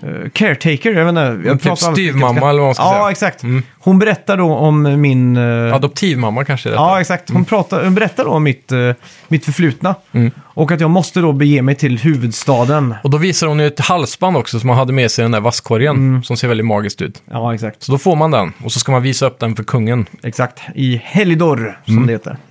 A: eh, caretaker, jag vet inte. Jag
B: Typ
A: pratar aldrig
B: styvmamma
A: engelska.
B: eller vad man ska
A: ja,
B: säga. Mm.
A: exakt. Hon berättar då om min... eh,
B: Adoptivmamma kanske är rätt.
A: Ja, exakt. Hon, pratar, hon berättar då om mitt, eh, mitt förflutna.
B: Mm.
A: Och att jag måste då bege mig till huvudstaden.
B: Och då visar hon ju ett halsband också som man hade med sig i den där vasskorgen
A: Mm.
B: som ser väldigt magiskt ut.
A: Ja, exakt.
B: Så då får man den och så ska man visa upp den för kungen.
A: Exakt. I Helidor, som det heter. Mm.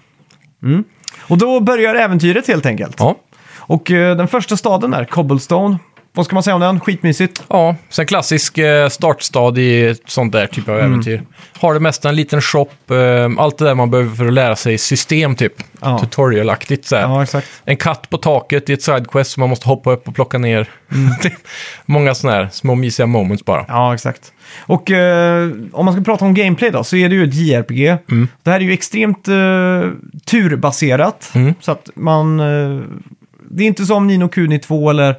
A: Och då börjar äventyret helt enkelt.
B: Ja.
A: Och eh, den första staden där, Cobblestone. Vad ska man säga om den? Skitmysigt.
B: Ja, så en klassisk eh, startstad i ett sånt där typ
A: Mm.
B: av äventyr. Har det mesta en liten shop, eh, allt det där man behöver för att lära sig system typ.
A: Ja.
B: Tutorial-aktigt så här.
A: Ja, exakt.
B: En katt på taket i ett sidequest som man måste hoppa upp och plocka ner. Typ Många sådana här små mysiga moments bara.
A: Mm. Ja, exakt. Och eh, om man ska prata om gameplay då, så är det ju ett JRPG. Det här är ju extremt eh, turbaserat. Så att man... Eh, det är inte som Nino Kuni 2 eller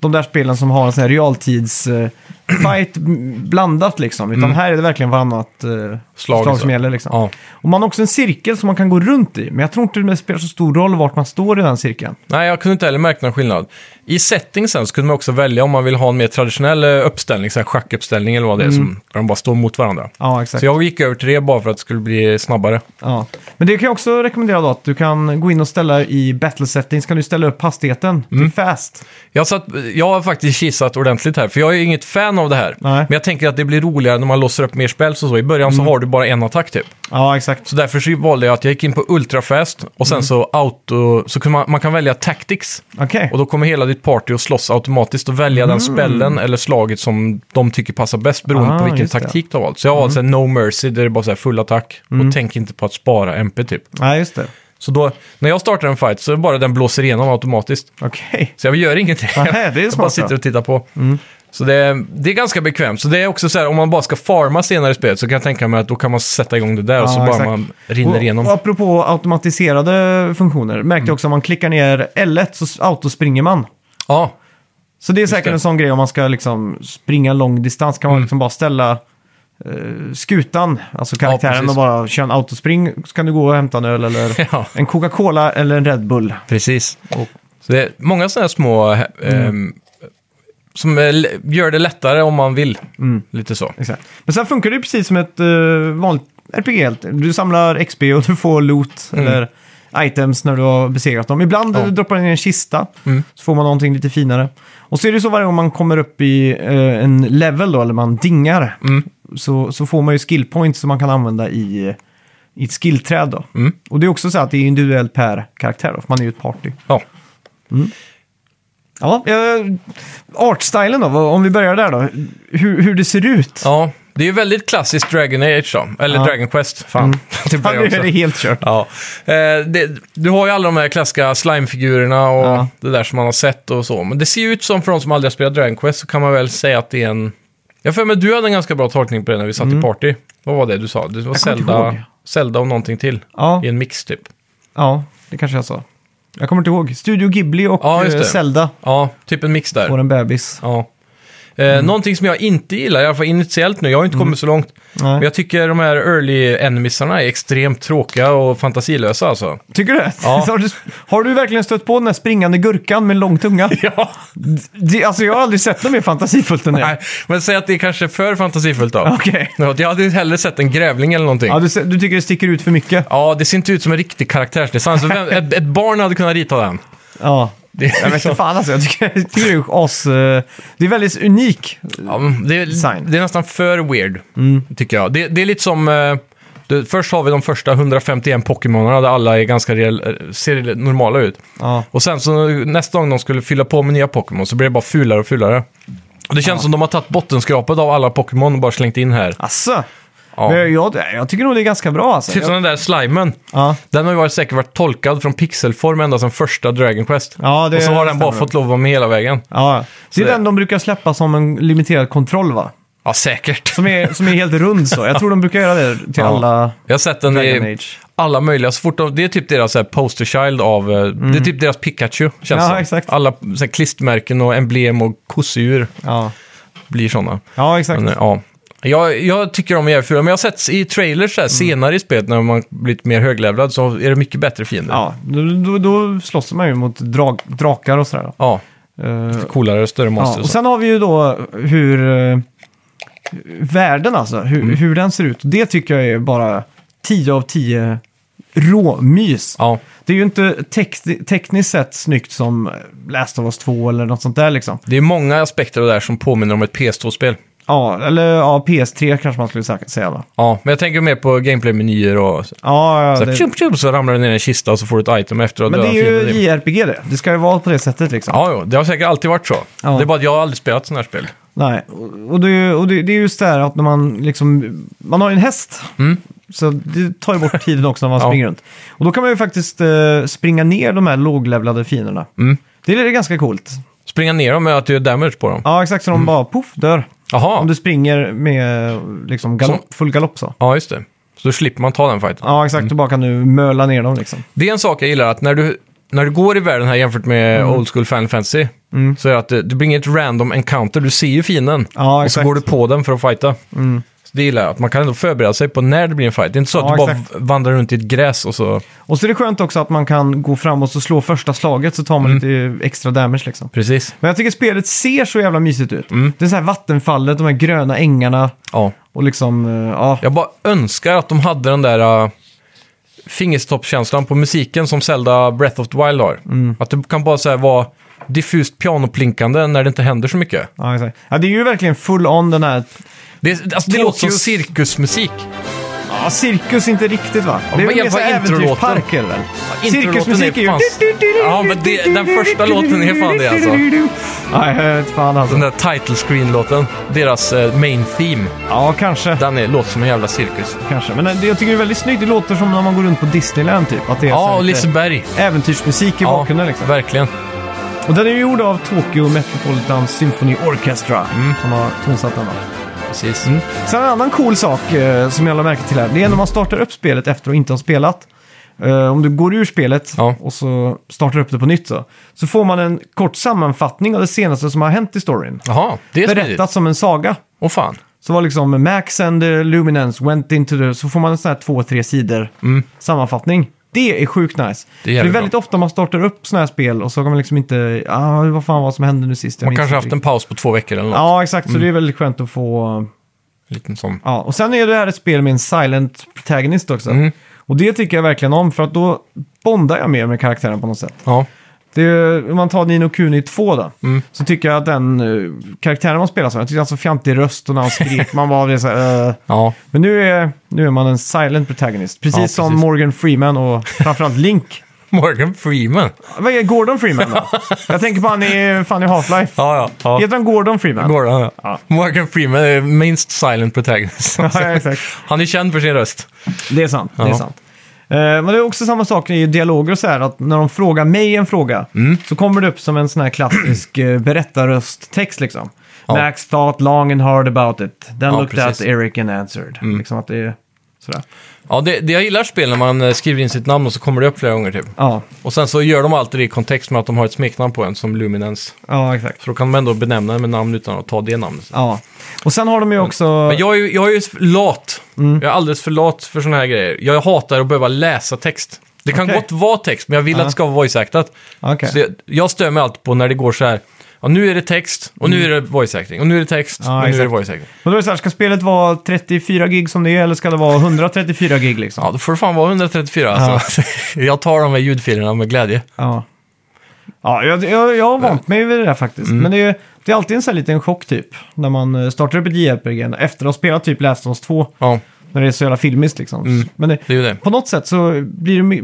A: de där spelen som har en sån här realtids... Eh, fight blandat liksom. Utan här är det verkligen varannat eh, slag,
B: liksom.
A: som gäller liksom.
B: Ja.
A: Och man har också en cirkel som man kan gå runt i. Men jag tror inte det spelar så stor roll vart man står i den cirkeln.
B: Nej, jag kunde inte heller märka någon skillnad. I settingsen så kunde man också välja om man vill ha en mer traditionell eh, uppställning, så här schackuppställning eller vad det är, som, där de bara står mot varandra.
A: Mm. Ja, exakt.
B: Så jag gick över till det bara för att det skulle bli snabbare.
A: Ja. Men det kan jag också rekommendera då, att du kan gå in och ställa i battle settings, kan du ställa upp hastigheten
B: Mm.
A: till fast.
B: Jag, satt, jag har faktiskt kisat ordentligt här, för jag är ju inget fan av det här.
A: Nej. Mm.
B: Men jag tänker att det blir roligare när man låser upp mer spells och så. I början så har du bara en attack typ.
A: Ja, exakt.
B: Så därför så valde jag att jag gick in på ultrafast och
A: Mm.
B: sen så auto... Så kan man, man kan välja tactics.
A: Okej.
B: Och då kommer hela ditt party att slåss automatiskt och välja den spellen eller slaget som de tycker passar bäst beroende
A: Mm. Ah,
B: på vilken
A: just det.
B: taktik du har valt. Så jag har valt mm. no mercy, där det är bara så här full attack
A: Mm.
B: och tänk inte på att spara MP typ.
A: Nej, just det.
B: Så då, när jag startar en fight så är det bara den blåser igenom automatiskt.
A: Okej.
B: Så jag gör ingenting.
A: Nej, det är
B: jag bara
A: smart, Mm.
B: sitter
A: ja.
B: och tittar på. Så det är, det är ganska bekvämt. Så det är också så här, om man bara ska farma senare i spelet så kan jag tänka mig att då kan man sätta igång det där och så
A: Ja,
B: bara
A: exakt.
B: man rinner
A: och,
B: igenom. Mm.
A: och apropå automatiserade funktioner, märkte jag också om man klickar ner L1 så s- autospringer man.
B: Ja,
A: Så det är säkert
B: det. Mm.
A: en sån grej om man ska liksom springa lång distans. Kan man liksom bara ställa eh, skutan, alltså karaktären,
B: precis.
A: och bara köra en autospring. Så kan du gå och hämta en öl eller
B: Ja.
A: en Coca-Cola eller en Red Bull.
B: precis. Så det är många sådana här små eh,
A: Mm.
B: som eh, l- gör det lättare om man vill.
A: Mm.
B: Lite så.
A: Exakt. Men sen funkar det ju precis som ett eh, vanligt RPG. helt. Du samlar XP och du får loot eller items när du har besegrat dem. Ibland
B: Mm. Ja. Mm.
A: eh, droppar det ner en kista så får man någonting lite finare. Och så är det så varje gång man kommer upp i eh, en level då, eller man dingar,
B: Mm.
A: så, så får man ju skill points som man kan använda i, i ett skillträd då.
B: Mm.
A: Och det är också så att det är individuellt per karaktär då, för man är ju ett party.
B: Ja.
A: Ja, eh, artstylen då, vad- om vi börjar där då. Hur, hur det ser ut.
B: ja, det är ju väldigt klassiskt Dragon Age då. Eller
A: Ja. Mm.
B: Dragon Quest. Fan, det
A: Ja,
B: blir
A: nu
B: jag också.
A: är det helt kört.
B: Ja. Eh, det, du har ju alla de här klassiska slimefigurerna och
A: Ja.
B: det där som man har sett och så. Men det ser ju ut som, för de som aldrig har spelat Dragon Quest, så kan man väl säga att det är en... Jag för mig du hade en ganska bra tolkning på det när vi satt i party. Vad var det du sa? Det var
A: Mm. kommer inte ihåg.
B: Zelda, Zelda och någonting till.
A: Ja.
B: I en mix typ.
A: Ja, det kanske jag sa. Jag kommer inte ihåg. Studio Ghibli och
B: Ja, just
A: eh,
B: det.
A: Zelda
B: Ja, typ en mix där.
A: får en bebis.
B: Ja. Eh,
A: Mm.
B: Någonting som jag inte gillar, i alla fall initiellt nu, jag har inte kommit så långt.
A: Nej.
B: Men jag tycker de här early enemiesarna är extremt tråkiga och fantasilösa alltså.
A: Tycker du det?
B: Ja.
A: har, du, har du verkligen stött på den där springande gurkan med lång tunga?
B: Ja.
A: det, alltså jag har aldrig sett något mer fantasifullt än det.
B: Nej, men säg att det är kanske för fantasifullt då.
A: Okej.
B: Ja, Jag hade ju hellre sett en grävling eller någonting.
A: Ja,
B: Ja,
A: du, se- du tycker det sticker ut för mycket?
B: det ser inte ut som en riktig karaktärsdesign. Så vem, ett, ett barn hade kunnat rita den.
A: Ja.
B: Det är, liksom-
A: Jag vet inte fan alltså, jag tycker, jag tycker det är as... eh, Det är väldigt unik.
B: ja, men det, är
A: Design. Mm.
B: det är nästan för weird, tycker jag. Det, det är lite som... eh, Du, först har vi de första 151 Pokémonerna där alla är ganska real, eh, ser normala ut.
A: Ja.
B: Och sen så nästa gång de skulle fylla på med nya Pokémon så blir det bara fulare och fulare. Och det känns som de har tagit bottenskrapet av alla Pokémon och bara slängt in här.
A: Asså?
B: Ja.
A: Alltså. Men jag, jag tycker nog det är ganska bra alltså.
B: Typ som
A: Jag,
B: den där slimen.
A: ja.
B: Den har ju varit, säkert varit tolkad från pixelform ända sedan första Dragon Quest.
A: Ja, det
B: och så har den bara
A: stämmer.
B: fått lov att vara med hela vägen.
A: Ja. Det är
B: det-
A: den de brukar släppa som en limiterad kontroll va?
B: Ja, säkert.
A: Som är, som är helt rund så. Jag tror de brukar göra det till
B: Ja.
A: alla...
B: Jag har sett den
A: Dragon
B: i
A: Age.
B: alla möjliga, så fort de, det är typ deras så här, poster child av, eh, det är typ deras Pikachu, känns
A: Mm. Ja,
B: som.
A: exakt.
B: Alla så här, klistermärken och emblem och kosedjur
A: Ja,
B: blir sådana.
A: ja exakt.
B: Men, eh, ja. Jag, jag tycker de är jävligt fula, men jag har sett i trailers så
A: Mm.
B: här, senare i spelet när man blivit mer höglevlad så är det mycket bättre fiender.
A: Ja, då, då, då slåss man ju mot drag, drakar och sådär.
B: Ja,
A: Eh,
B: coolare, större
A: ja.
B: monster.
A: Och
B: och så.
A: sen har vi ju då hur eh, världen alltså, hur,
B: Mm.
A: hur den ser ut. Det tycker jag är bara 10 av 10 råmys.
B: Ja,
A: Det är ju inte tek- tekniskt sett snyggt som Last of Us 2 eller något sånt där liksom.
B: det är många aspekter av det här som påminner om ett PS2-spel.
A: Ja, eller ja, PS3 kanske man skulle säkert säga va?
B: Ja, men jag tänker mer på gameplay-menyer och så,
A: Ja, ja
B: så, här,
A: det,
B: tjum, tjum, så ramlar det ner i en kista och så får du ett item efter att
A: men det är
B: fienden.
A: ju JRPG det. Det ska ju vara på det sättet liksom.
B: Ja, jo, det har säkert alltid varit så.
A: Ja.
B: Det är bara att jag har aldrig spelat sådana här spel.
A: Nej, och- och, det, är ju- och det, det är just det här att när man liksom, man har ju en häst. Så det tar ju bort tiden också när man
B: Ja.
A: springer runt. Och då kan man ju faktiskt eh, springa ner de här låglevlade fienderna. Det är ganska coolt.
B: Springa ner dem med att du gör damage på dem.
A: Ja, exakt. Så de bara poff dör.
B: Jaha,
A: Om du springer med liksom galopp, full galopp så. Mm.
B: ja just det. Så då slipper man ta den fighten.
A: Ja, exakt. Då bara kan du möla ner dem liksom.
B: Det är en sak jag gillar, att när du när du går i världen här jämfört med
A: Mm.
B: old school Final Fantasy, så är det att det, det blir inget random encounter. Du ser ju fienden
A: Ja,
B: och så
A: exakt. Mm.
B: går du på den för att fighta. Så det gillar jag, att man kan ändå förbereda sig på när det blir en fight. Det är inte så att
A: Ja,
B: du bara
A: exakt.
B: v- vandrar runt i ett gräs och så...
A: Och så är det skönt också att man kan gå fram och så slå första slaget så tar man lite extra damage liksom.
B: Precis.
A: Men jag tycker spelet ser så jävla mysigt ut.
B: Mm.
A: Det är så här vattenfallet, de här gröna ängarna
B: Ja.
A: och liksom, eh, ja.
B: Jag bara önskar att de hade den där äh, fingertoppskänslan på musiken som Zelda Breath of the Wild har.
A: Mm.
B: Att det kan bara så här vara diffust pianoplinkande när det inte händer så mycket.
A: Ja, exakt. ja, det är ju verkligen full on den här...
B: Det, alltså, det låter som
A: Tokyos-
B: cirkusmusik.
A: Ja, cirkus inte riktigt va?
B: Ja,
A: det är väl
B: men
A: mer
B: vad
A: så här
B: är introlåten?
A: äventyrspark eller?
B: introlåten
A: Cirkusmusik
B: är
A: är ju...
B: fan- Ja, men det- den första låten är fan det, alltså.
A: Nej, jag vet fan alltså.
B: Den där title screen-låten, deras eh, main theme,
A: Ja, kanske.
B: den är, låter som en jävla cirkus.
A: Kanske. Men eh, det, jag tycker det är väldigt snyggt. Det låter som när man går runt på Disneyland typ. Att det är så
B: Ja,
A: här
B: och
A: lite
B: Liseberg.
A: äventyrsmusik i
B: Ja,
A: bakgrunden liksom.
B: verkligen.
A: Och den är ju gjord av Tokyo Metropolitan Symphony Orchestra.
B: Mm.
A: Som har tonsatt den. va?
B: Precis.
A: Mm. Sen en annan cool sak eh, som jag lade märke till här. Det är när man startar upp spelet efter att inte ha spelat. Eh, om du går ur spelet
B: Ja.
A: och så startar upp det på nytt så. Så får man en kort sammanfattning av det senaste som har hänt i storyn.
B: Jaha, det är smidigt.
A: Berättat som en saga.
B: Åh fan.
A: Så var liksom Max and the Luminance went into the... Så får man en sån här två, tre sidor sammanfattning. Det är sjukt nice.
B: Mm.
A: Det är, För
B: Det är
A: det är
B: jävligt
A: väldigt ofta man startar upp såna här spel och så kan man liksom inte... Ah, vad fan var det som hände nu sist? Jag
B: Man
A: minns
B: kanske
A: inte
B: haft en
A: riktigt."
B: paus Mm. på två veckor eller något.
A: Ja, exakt. Så det är väldigt skönt att få...
B: Liten sån.
A: Ja, och sen är det här ett spel med en silent protagonist också.
B: Mm.
A: Och det tycker jag verkligen om, för att då bondar jag mer med karaktären på något sätt.
B: Ja.
A: Det är, om man tar Nino Kuni 2 då,
B: Mm.
A: så tycker jag att den eh, karaktären man spelar som, jag tyckte han så fjantig röst och när han skrek, man var det så här, eh.
B: ja.
A: Men nu är, nu är man en silent protagonist, precis,
B: precis.
A: som Morgan Freeman och framförallt Link.
B: Morgan Freeman.
A: Vad är Gordon Freeman då? jag tänker på han i, fan i Half-Life.
B: Ja, ja. ja.
A: Heter han Gordon Freeman?
B: Gordon, ja.
A: Ja.
B: Morgan Freeman är minst silent protagonist.
A: ja, exakt.
B: Han är känd för sin röst.
A: Det är sant. Det
B: Ja.
A: är sant. Eh, men det är också samma sak i dialoger och så här, att när de frågar mig en fråga
B: Mm.
A: så kommer det upp som en sån här klassisk eh, berättarrösttext liksom.
B: Ja.
A: Max thought long and hard about it. Then
B: Ja,
A: looked
B: precis. Mm.
A: at Eric and answered. Liksom att det är sådär.
B: Ja, det, det jag gillar spel när man eh, skriver in sitt namn och så kommer det upp flera gånger typ.
A: Ja,
B: Och sen så gör de alltid det i kontext med att de har ett smeknamn på en som Luminance.
A: ja exakt.
B: Så då kan man ändå benämna den med namn utan att ta det namnet.
A: Ja. Och sen har de ju också...
B: Men jag är ju, jag är ju lat.
A: Mm.
B: Jag är alldeles för lat för sådana här grejer. Jag hatar att behöva läsa text. Det kan
A: Okej.
B: gott vara text, men jag vill att det ska vara voice-actat.
A: Okej.
B: Så jag, jag stör mig alltid på när det går så här. Ja, nu är det text, och nu är det voice-acting, och nu är det text,
A: Mm. Ja,
B: och nu är det
A: exakt.
B: voice-acting.
A: Men då är det så här, ska spelet vara 34 gig som det är eller ska det vara 134 gig liksom?
B: Ja, då får det fan vara 134 alltså. Jag tar de här ljudfilerna med glädje.
A: Ja. Ja, jag, jag, jag har vant mig vid det där faktiskt. Men det är, det är alltid en sån här liten chock typ. När man eh, startar upp ett JRPG efter att ha spelat typ Last of Us 2.
B: Ja,
A: När det är så jävla filmiskt liksom. Men det,
B: det är ju det.
A: på något sätt så blir det my-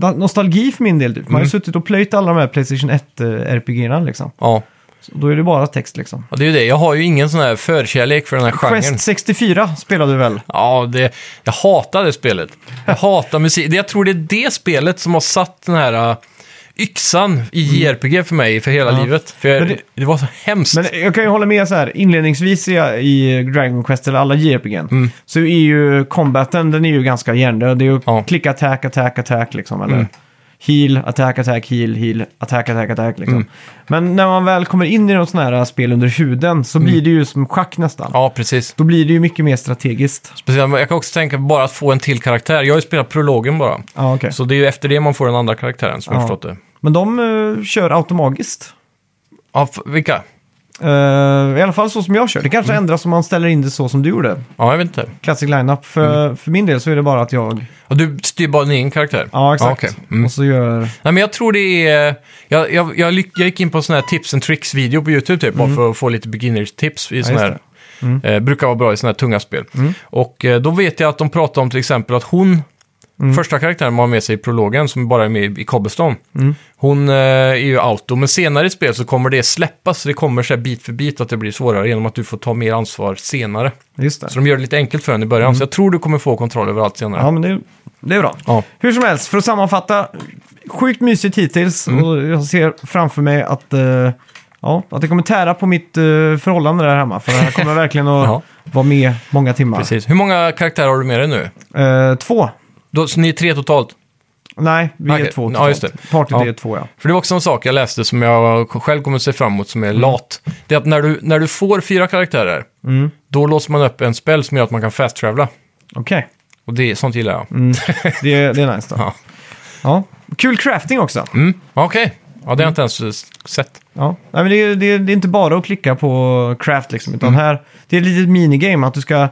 A: na- nostalgi för min del. Typ. Man har ju suttit och plöjt alla de här Playstation eh, 1-RPG-erna liksom.
B: Ja.
A: Så Då är det bara text liksom.
B: ja, det är ju det. Jag har ju ingen sån här förkärlek för den här genren.
A: Quest 64 spelade du väl?
B: Ja, det, jag hatar det spelet. Jag hatar musik. Det- Jag tror det är det spelet som har satt den här äh, yxan i JRPG för mig för hela livet. För jag,
A: Mm. Men
B: det,
A: det-
B: var så hemskt.
A: Men jag kan ju hålla med så här, inledningsvis i, i Dragon Quest eller alla JRPG så är ju combaten, den är ju ganska hjärndöd. Det är ju
B: Ja.
A: klick, attack, attack, attack liksom. Eller heal, attack, attack, heal, heal, attack, attack, attack liksom. Men när man väl kommer in i de sådana här spel under huden så blir det ju som schack nästan.
B: Ja, precis.
A: Då blir det ju mycket mer strategiskt.
B: Speciellt, jag kan också tänka bara att få en till karaktär. Jag har ju spelat prologen bara.
A: Ja, okej.
B: Så det är ju efter det man får den andra karaktären, som jag
A: Ja.
B: förstått det.
A: Men de eh, kör automatiskt.
B: Ja, f- vilka?
A: Eh, I alla fall så som jag kör. Det kanske ändras om man ställer in det så som du gjorde.
B: Ja, jag vet inte.
A: Classic lineup. För, för min del så är det bara att jag...
B: Och du styr bara din egen karaktär?
A: Ja, exakt.
B: okej. Mm.
A: Och så gör...
B: Nej, men jag tror det är... Jag, jag, jag, lyck, jag gick in på en sån här tips and tricks-video på YouTube typ, bara för att få lite beginners-tips. I sån
A: Mm. just
B: här, eh, brukar vara bra i såna här tunga spel. Och eh, då vet jag att de pratar om till exempel att hon, första karaktären man har med sig i prologen, som bara är med i Cobblestone, hon eh, är ju auto. Men senare i spel så kommer det släppas, så det kommer så här bit för bit att det blir svårare genom att du får ta mer ansvar senare.
A: Just det.
B: Så de gör det lite enkelt för henne i början, så jag tror du kommer få kontroll över allt senare.
A: Ja, men det, det är bra.
B: Ja.
A: Hur som helst, för att sammanfatta. Sjukt mysigt hittills
B: Mm.
A: och jag ser framför mig att, eh, ja, att det kommer tära på mitt eh, förhållande där hemma. För det här kommer verkligen att
B: Ja.
A: vara med många timmar.
B: Precis. Hur många karaktärer har du med dig nu?
A: Eh, två.
B: Då, så ni är tre totalt?
A: Nej, vi
B: Okej,
A: är två
B: ja, just
A: totalt.
B: det.
A: Partyt
B: Ja.
A: är två, ja.
B: För det var också en sak jag läste som jag själv kommer att se fram emot som är lat. Det är att när du, när du får fyra karaktärer, då låser man upp en spel som gör att man kan fast-travela.
A: Okej,
B: Och det, sånt gillar jag.
A: det, är- det är nice då.
B: Ja.
A: Ja. Kul crafting också.
B: Mm. Okej, ja, det har jag inte ens eh, sett.
A: Ja. Nej, men det, är- det, är- det är inte bara att klicka på craft liksom,
B: Mm.
A: utan här, det är ett litet minigame att du ska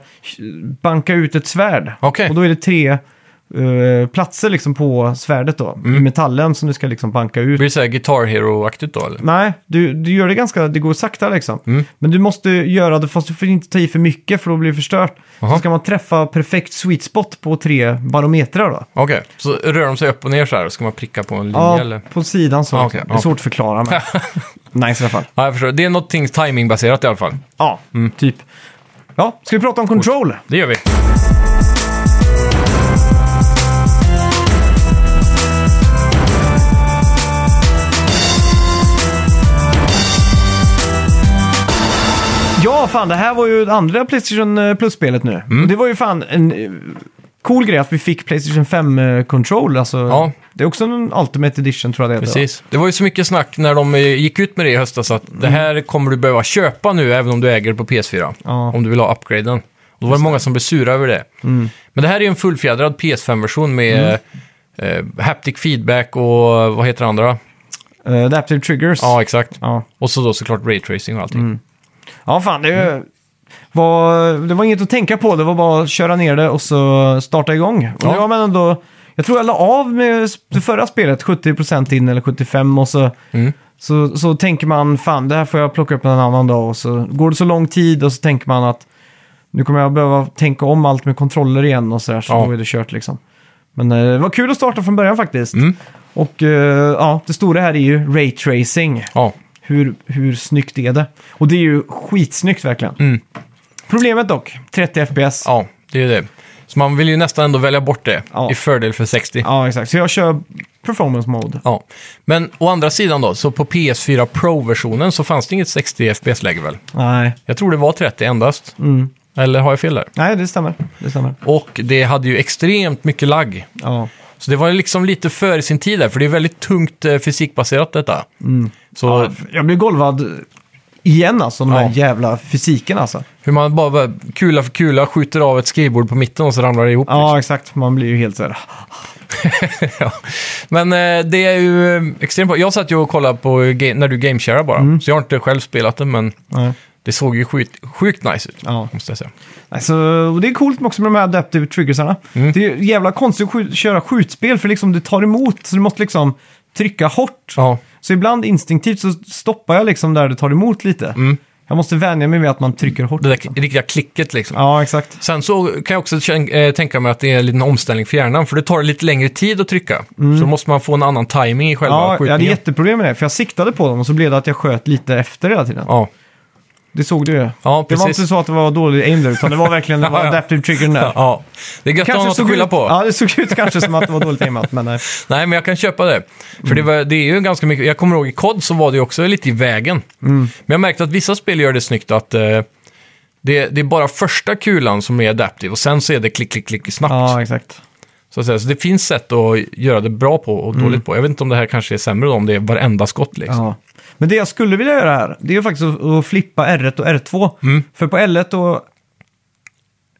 A: banka ut ett svärd.
B: Okej.
A: Och då är det tre eh, platser liksom på svärdet då,
B: Mm.
A: i metallen som du ska liksom banka ut.
B: Blir det så här Guitar Hero-aktigt då eller?
A: Nej, du, du gör det ganska, det går sakta liksom.
B: Mm.
A: Men du måste göra det, fast du får inte ta i för mycket för då blir det förstört.
B: Aha.
A: Så ska man träffa perfekt sweet spot på tre barometrar då.
B: Okej, så rör de sig upp och ner så här och ska man pricka på en linje eller?
A: Ja, på sidan så.
B: Ah, okej,
A: det är
B: ja.
A: svårt att förklara men nice i alla fall.
B: Ja, jag förstår. Det är någonting timingbaserat i alla fall.
A: Ja, typ. Ja, ska vi prata om Control?
B: Det gör vi.
A: Ja, fan, det här var ju det andra Playstation eh, Plus-spelet nu. Och det var ju fan en eh, cool grej att vi fick Playstation 5-control. Alltså,
B: Ja.
A: Det är också en Ultimate Edition tror jag det heter. va?
B: Precis. Det var ju så mycket snack när de eh, gick ut med det i höstas att
A: Mm.
B: det här kommer du behöva köpa nu även om du äger det på PS4.
A: Ja. Mm.
B: Om du vill ha upgraden. Och då var det många som blev sura över det. Men det här är ju en fullfjädrad PS5-version med
A: Mm.
B: eh, haptic feedback och eh, vad heter det andra?
A: Eh, Adaptive Triggers.
B: Ja, exakt.
A: Ja. Mm.
B: Och så då såklart raytracing och allting.
A: Ja, fan, det var, det var inget att tänka på. Det var bara att köra ner det och så starta igång. Och
B: Ja.
A: det var men ändå, jag tror jag la av med det förra spelet, 70% in eller 75% och så,
B: Mm.
A: så, så tänker man fan, det här får jag plocka upp en annan dag. Och så går det så lång tid och så tänker man att nu kommer jag behöva tänka om allt med kontroller igen och sådär, så
B: Ja.
A: då är det kört liksom. Men eh, det var kul att starta från början faktiskt.
B: Mm.
A: Och eh, ja, det stora här är ju Ray Tracing.
B: Ja.
A: Hur, hur snyggt är det? Och det är ju skitsnyggt verkligen.
B: Mm.
A: Problemet dock, 30 FPS. Ja.
B: ja, det är det. Så man vill ju nästan ändå välja bort det
A: Ja.
B: i fördel för 60.
A: exakt. Så jag kör performance mode.
B: Ja, men å andra sidan då, så på PS4 Pro-versionen så fanns det inget 60 FPS-läge väl?
A: Nej,
B: Jag tror det var 30 endast.
A: Mm.
B: Eller har jag fel där?
A: Nej det stämmer. Det stämmer.
B: Och det hade ju extremt mycket lagg.
A: Ja.
B: Så det var ju liksom lite före sin tid där, för det är väldigt tungt eh, fysikbaserat detta. Så
A: Mm. Ja, Jag blir golvad igen alltså, den
B: Ja.
A: här jävla fysiken alltså.
B: hur man bara- bara kula för kula skjuter av ett skrivbord på mitten och så ramlar det ihop.
A: Ja, exakt. Man blir ju helt så här... "Ah."
B: Ja. Men eh, det är ju eh, extremt bra. Jag satt ju och kollade på ga- när du gameshareade bara,
A: Mm.
B: så jag har inte själv spelat det, men
A: Nej.
B: det såg ju sjukt, sjukt nice ut,
A: Ja.
B: måste jag säga.
A: Alltså, och det är coolt också med de här adaptive triggersarna.
B: Mm.
A: Det är jävla konstigt att skj- köra skjutspel för liksom det tar emot så du måste liksom trycka hårt.
B: Ja.
A: Så ibland instinktivt så stoppar jag liksom där det tar emot lite. Jag måste vänja mig vid att man trycker hårt.
B: Mm. Det där
A: liksom.
B: k- riktiga klicket liksom.
A: Ja, exakt.
B: Sen så kan jag också kän- eh, tänka mig att det är en liten omställning för hjärnan, för det tar lite längre tid att trycka. Så då måste man få en annan timing i själva
A: Mm. Ja, jag
B: skjutningen.
A: hade jätteproblem med det, för jag siktade på dem och så blev det att jag sköt lite efter hela tiden.
B: ja.
A: Det såg du ju.
B: Ja,
A: det
B: precis.
A: var inte så att det var dålig aim där, utan det var verkligen det var
B: Ja, ja.
A: adaptive triggern där.
B: ja, det är gött att ha något att
A: såg
B: skylla
A: ut,
B: på.
A: Ja, det såg ut kanske som att det var dåligt aimat, men eh, nej.
B: Nej, men jag kan köpa det. För
A: Mm.
B: det, var, det är ju ganska mycket, jag kommer ihåg i COD så var det ju också lite i vägen.
A: Mm.
B: Men jag märkte att vissa spel gör det snyggt att eh, det, det är bara första kulan som är adaptive och sen så är det klick, klick, klick snabbt.
A: Ja, exakt.
B: Så, att säga. så det finns sätt att göra det bra på och
A: Mm.
B: dåligt på. Jag vet inte om det här kanske är sämre då, om det är varenda skott liksom.
A: Ja. Men det jag skulle vilja göra här, det är ju faktiskt att, att flippa R1 och R2.
B: Mm.
A: För på L1 och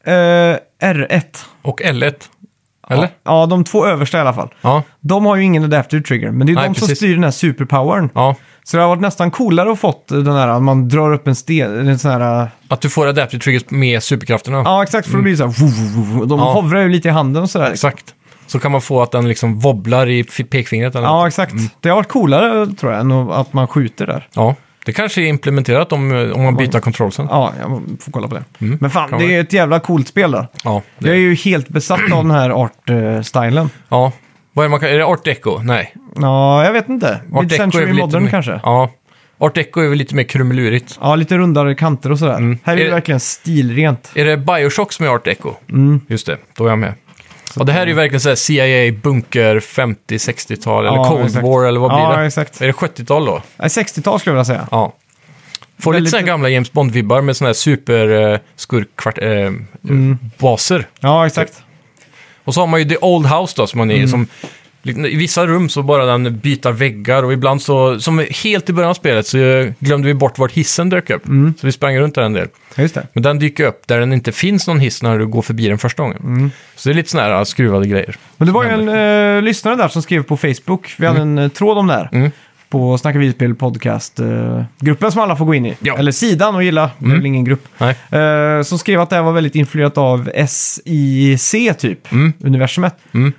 A: eh, R1,
B: Och L1, eller?
A: ja de två översta i alla fall.
B: Ja.
A: De har ju ingen adaptive trigger, men det är
B: Nej,
A: de som
B: precis.
A: styr den här superpowern.
B: ja.
A: Så det har varit nästan coolare att fått den här, att man drar upp en sten, en sån här...
B: Att du får adaptive triggers med superkrafterna.
A: Ja, exakt, för då blir det så här... Woo, woo, woo. De
B: Mm. Ja.
A: hovrar ju lite i handen och sådär.
B: Exakt. Så kan man få att den liksom wobblar i f- pekfingret eller något.
A: Ja, exakt. Det har varit coolare, tror jag, än att man skjuter där.
B: ja. Det kanske är implementerat om, om man byter kontrollsen.
A: Ja, jag får kolla på det. Men fan,
B: Mm. kan
A: det
B: man.
A: är ett jävla coolt spel där.
B: Ja.
A: Jag är ju helt besatt av den här art-stylen.
B: Ja. Vad är, det man kan, är det art deco? Nej.
A: Ja, jag vet inte.
B: Art
A: Mid Century Modern
B: mer,
A: kanske.
B: Ja. Art deco är väl lite mer krummelurigt.
A: Ja, lite rundare kanter och sådär. Här är
B: Mm. Är
A: det
B: det-
A: verkligen stilrent.
B: Är det Bioshock som är art deco?
A: Mm.
B: Just det, då är jag med. Ja, det här är ju verkligen så här CIA, bunker, 50-60-tal eller
A: Ja,
B: Cold
A: exakt.
B: War eller vad blir
A: Ja,
B: det?
A: exakt.
B: Är det 70-tal då?
A: Nej, 60-tal skulle jag vilja säga.
B: Ja. Får lite
A: Väldigt-
B: sådana gamla James Bond-vibbar med sådana här superskurkbaser. Eh, baser.
A: Ja, exakt.
B: Mm. och så har man ju The Old House då, som man är som I vissa rum så bara den byter väggar och ibland så, som helt i början av spelet, så eh, glömde vi bort vart hissen dök upp. Så vi sprang runt där en del.
A: Just det.
B: Men den dyker upp där den inte finns någon hiss när du går förbi den första gången. Så det är lite sådana här eh, skruvade grejer.
A: Men det var ju en eh, lyssnare där som skrev på Facebook. Vi hade en eh, tråd om det här.
B: Mm.
A: På Snacka videospel podcast-gruppen som alla får gå in i.
B: Ja.
A: Eller sidan och gilla. Det är väl ingen grupp.
B: Nej.
A: Eh, som skrev att det här var väldigt influerat av SIC, typ. Universumet.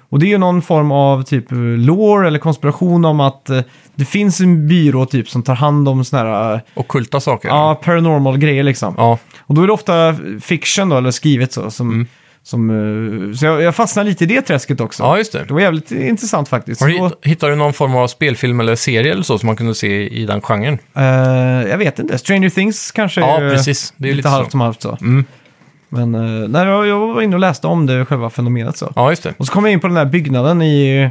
A: Och det är ju någon form av typ eh, lore eller konspiration om att eh, det finns en byrå typ som tar hand om såna här eh,
B: Ockulta saker.
A: ja, paranormal grejer liksom.
B: ja.
A: Och då är det ofta fiction då, eller skrivet så. Som,
B: Mm.
A: som, eh, så jag, jag fastnar lite i det träsket också.
B: Ja, just det.
A: Det var jävligt intressant faktiskt.
B: Har du,
A: Så,
B: hitt- hittar du någon form av spelfilm eller serie eller så som man kunde se i den genren?
A: eh, jag vet inte, Stranger Things kanske
B: Ja,
A: är ju
B: precis. Det är ju lite så. Mm.
A: halvt som halvt så. Men eh, nej, jag, jag var inne och läste om det själva fenomenet så.
B: Ja, just det.
A: Och så kom jag in på den där byggnaden i,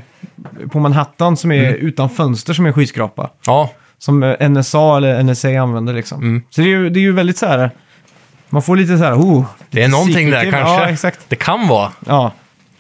A: på Manhattan som är
B: Mm.
A: utan fönster som är en skyskrapa.
B: Ja,
A: Som eh, NSA eller NSA använder liksom.
B: Mm.
A: Så det är ju, det är ju väldigt så här, man får lite så här, oh.
B: det är någonting där
A: secretive.
B: kanske.
A: Ja, exakt.
B: Det kan vara
A: Ja,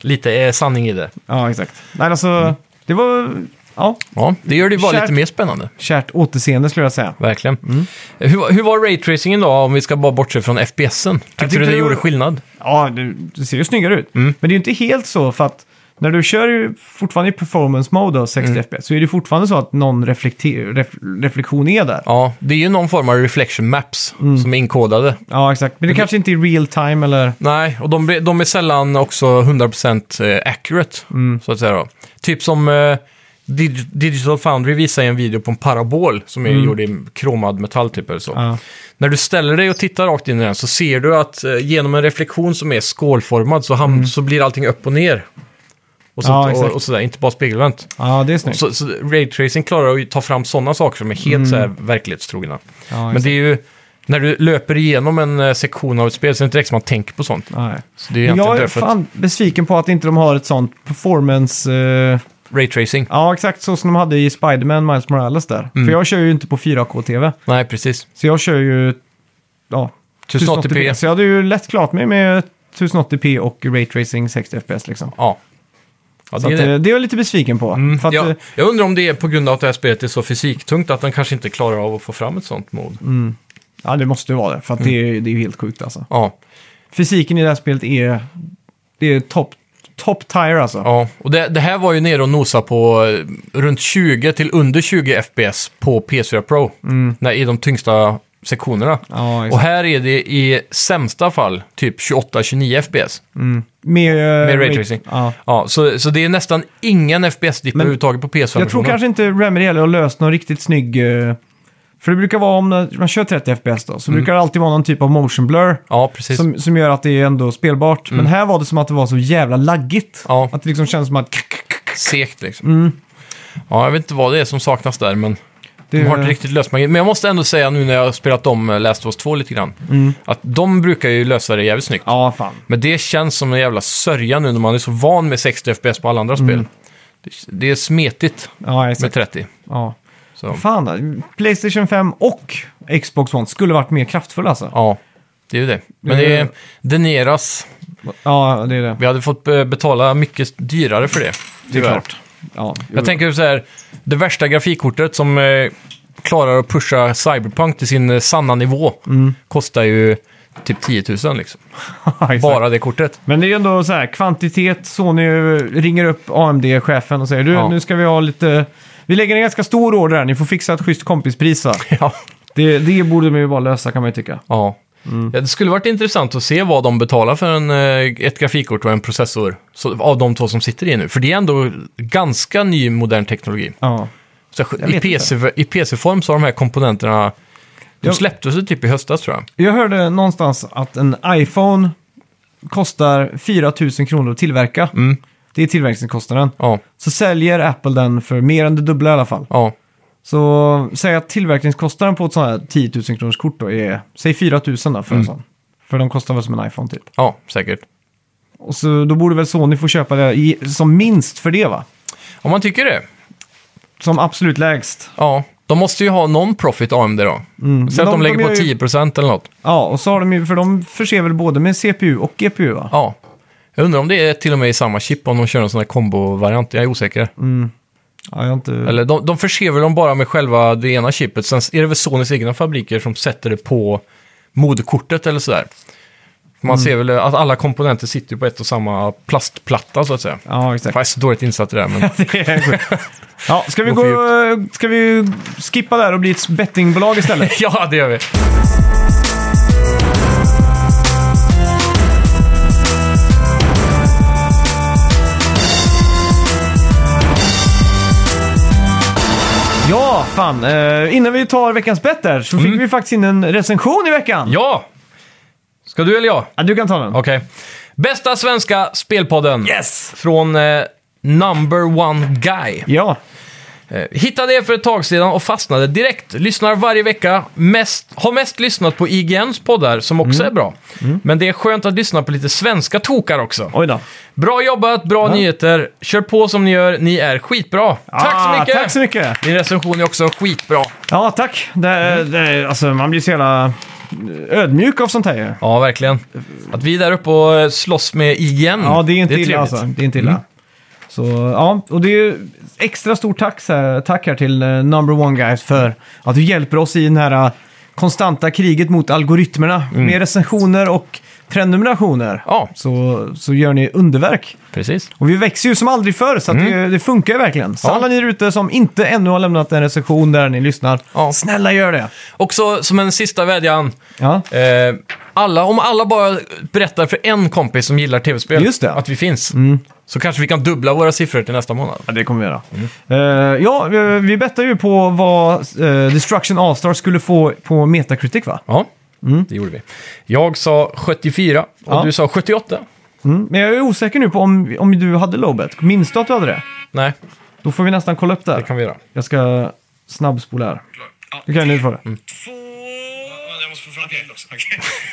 B: lite eh, sanning i det.
A: ja exakt. Nej, alltså,
B: Mm.
A: det var, ja,
B: Ja, det gör det ju bara
A: Kärt- Mm.
B: lite mer spännande.
A: kärt återseende skulle jag säga.
B: Verkligen. Hur, var- hur var raytracingen då, om vi ska bara bortse från FPSen? Tyckte,
A: tyckte
B: du det
A: det
B: gjorde
A: var-
B: skillnad?
A: Ja, det, det ser ju snyggare ut.
B: Mm.
A: Men det är ju inte helt så för att när du kör ju fortfarande i performance mode av 60
B: Mm.
A: FPS så är det fortfarande så att någon reflekter, ref, reflektion är där. Ja.
B: Ja, det är ju någon form av reflection maps
A: Mm.
B: som är inkodade.
A: exakt. Men det kanske inte är real time eller...
B: Nej, och de, blir- de är sällan också 100% eh, accurate,
A: Mm.
B: så att säga. Då. Typ som eh, Dig- Digital Foundry visar i en video på en parabol som är gjord i kromad metall typ eller så.
A: Mm. Ja.
B: När du ställer dig och tittar rakt in i den så ser du att eh, genom en reflektion som är skålformad så, ham- så blir allting upp och ner. Och, så,
A: Mm. Ja, exakt.
B: och, och sådär, inte bara spegelvänt.
A: Ja, det är snyggt.
B: Så, så raytracing klarar att ju ta fram sådana saker som är helt så här verklighetstrogna.
A: Mm. Ja,
B: Men det är ju, när du löper igenom en eh, sektion av ett spel så är det inte direkt som man tänker på sånt.
A: Nej.
B: Så det är
A: Men
B: egentligen
A: jag är
B: därför
A: fan besviken på att inte de har ett sånt performance... eh,
B: att raytracing.
A: ja, exakt så som de hade i Spider-Man Miles Morales där.
B: Mm.
A: För jag kör ju inte på 4K-TV.
B: Nej, precis.
A: Så jag kör ju... Ja,
B: 1080p.
A: Så jag hade ju lätt klart mig med 1080p och Ray Tracing 60 FPS liksom.
B: Ja. ja
A: Så
B: det
A: det, att,
B: är
A: eh,
B: det. Mm,
A: det är jag lite besviken på. för att,
B: Ja,
A: eh,
B: jag undrar om det är på grund av att det här spelet är så fysiktungt att de kanske inte klarar av att få fram ett sånt mod.
A: Mm. ja, det måste ju vara det. För att det,
B: Mm.
A: är, det är ju helt sjukt alltså.
B: Ja,
A: Fysiken i det här spelet är... Det är top, top tier alltså.
B: ja. Och det, det här var ju nere och nosa på eh, runt 20 till under 20 FPS på PS4 Pro. När, I de tyngsta sektionerna.
A: Mm. Ja,
B: och
A: exakt.
B: här är det i sämsta fall typ 28-29 FPS.
A: Mm. Med, eh,
B: Med Ray
A: Ray-
B: Tracing.
A: Ja.
B: Ja, så, så det är nästan ingen FPS-dipp överhuvudtaget på PS5.
A: Jag tror kanske inte Remedy heller har löst någon riktigt snygg... eh, För det brukar vara om när man kör 30 FPS då, så brukar det alltid vara någon typ av motion blur.
B: Ja, Mm. precis. Mm.
A: Som, som gör att det är ändå spelbart. Men här var det som att det var så jävla laggigt.
B: Ja.
A: Att det liksom känns som att...
B: Segt liksom.
A: Mm.
B: Ja, jag vet inte vad det är som saknas där, men
A: Det,
B: de har inte riktigt löst magin. Men jag måste ändå säga nu när jag har spelat om eh, Last of Us 2 lite grann,
A: Mm.
B: att de brukar ju lösa det jävligt snyggt.
A: Ja, fan.
B: Men det känns som en jävla sörja nu när man är så van med 60 FPS på alla andra spel. Det, det är smetigt
A: Ja,
B: med
A: Mm. exakt.
B: 30.
A: Ja.
B: Så,
A: Fan, Playstation 5 och Xbox One skulle varit mer kraftfulla alltså.
B: ja, det är ju det. Men
A: Det-
B: det deneras.
A: Ja, det är det.
B: Vi hade fått eh, betala mycket dyrare för det.
A: Det är
B: tyvärr.
A: klart. Ja,
B: Jag tänker så här, det värsta grafikkortet som eh, klarar att pusha Cyberpunk till sin eh, sanna nivå kostar ju typ 10 000 liksom.
A: Mm. exakt.
B: Bara det kortet.
A: Men det är ju ändå så här, kvantitet. Sony ringer upp AMD-chefen och säger du,
B: Ja.
A: nu ska vi ha lite... Vi lägger en ganska stor order här, ni får fixa ett schysst kompispris va?
B: Ja.
A: Det, det borde man ju bara lösa kan man ju tycka.
B: Ja.
A: Mm.
B: ja. Det skulle varit intressant att se vad de betalar för en, eh, ett grafikkort och en processor så, av de två som sitter i nu. För det är ändå ganska ny modern teknologi.
A: Ja.
B: Så,
A: Jag
B: i,
A: vet
B: PC, I PC-form så har de här komponenterna, de
A: Jag-
B: släpptes ju typ i höstas tror jag.
A: Jag hörde någonstans att en iPhone kostar 4 000 kronor att tillverka.
B: Mm.
A: Det är tillverkningskostnaden.
B: Ja,
A: Så säljer Apple den för mer än det dubbla i alla fall.
B: ja,
A: Så säg att tillverkningskostnaden på ett sånt här 10 000 kronors kort då är, säg 4 000 då
B: Mm.
A: för en sån. För de kostar väl som en iPhone typ.
B: ja, säkert.
A: Och så då borde väl Sony få köpa det i, som minst för det va?
B: Om man tycker det.
A: Som absolut lägst.
B: Ja, de måste ju ha någon profit AMD då. Säg att de,
A: Mm. De-
B: lägger
A: de
B: på
A: gör ju-
B: 10% eller något.
A: Ja, och så har de ju, för de förser väl både med CPU och GPU va?
B: Ja. Jag undrar om det är till och med i samma chip om de kör en sån här kombo-variant. Jag är osäker.
A: Mm. Ja, jag har inte...
B: Eller de, de förser väl dem bara med själva det ena chippet. Sen är det väl Sonys egna fabriker som sätter det på moderkortet eller sådär. Man ser
A: Mm.
B: väl att alla komponenter sitter ju på ett och samma plastplatta så att säga.
A: Ja, exakt.
B: Jag är så dåligt insatt i det här, men
A: Ja, ska, vi
B: Gå
A: gå,
B: för
A: ska vi skippa där och bli ett bettingbolag istället?
B: ja, det gör vi.
A: ja, fan. Eh, innan vi tar veckans bett där så
B: Mm.
A: fick vi faktiskt in en recension i veckan.
B: Ja! Ska du eller jag?
A: Ja, du kan ta den.
B: Okej. Bästa svenska spelpodden.
A: Yes!
B: Från eh, Number One Guy.
A: Ja,
B: Eh, Hittade er för ett tag sedan och fastnade direkt. Lyssnar varje vecka. Mest, har mest lyssnat på IGNs poddar, som
A: Mm.
B: också är bra. Men det är skönt att lyssna på lite svenska tokar också.
A: oj då.
B: Bra jobbat, bra nyheter. Kör på som ni gör, ni är skitbra. tack så
A: Ah,
B: mycket!
A: Tack så mycket!
B: Din recension är också skitbra.
A: Ja, tack. Det,
B: Mm.
A: det, alltså, man blir så jävla ödmjuk av sånt här ju.
B: Ja, verkligen. Att vi är där uppe och eh, slåss med IGN,
A: Ja, det är inte illa
B: trevligt. Mm.
A: alltså. Det är inte illa. Så, ja, och det är ju extra stort tack, så här, tack här till eh, Number One Guys för att du hjälper oss i den här eh, konstanta kriget mot algoritmerna med recensioner och prenumerationer.
B: Mm. Ja,
A: Så, så gör ni underverk.
B: precis.
A: Och vi växer ju som aldrig förr, så att det, det funkar ju verkligen. Så
B: Mm. Ja.
A: alla ni där ute som inte ännu har lämnat en recension där ni lyssnar,
B: Ja.
A: snälla gör det!
B: Också som en sista vädjan.
A: Ja.
B: Eh, alla, om alla bara berättar för en kompis som gillar tv-spel
A: Just det. Mm.
B: att vi finns, så kanske vi kan dubbla våra siffror till nästa månad.
A: Ja, det kommer vi göra.
B: Mm.
A: Eh, ja, vi, vi bettade ju på vad eh, Destruction All-Star skulle få på Metacritic, va?
B: Ja, det gjorde vi. Jag sa 74 och
A: Mm. Ja.
B: du sa 78.
A: Mm. Men jag är osäker nu på om, om du hade lowbet. Minns du att du hade det?
B: Nej,
A: Då får vi nästan kolla upp det
B: det
A: här.
B: kan vi göra.
A: Jag ska snabbspola här. Okej, nu får du.
B: Mm.
D: Två... Jag måste få fram okay. också.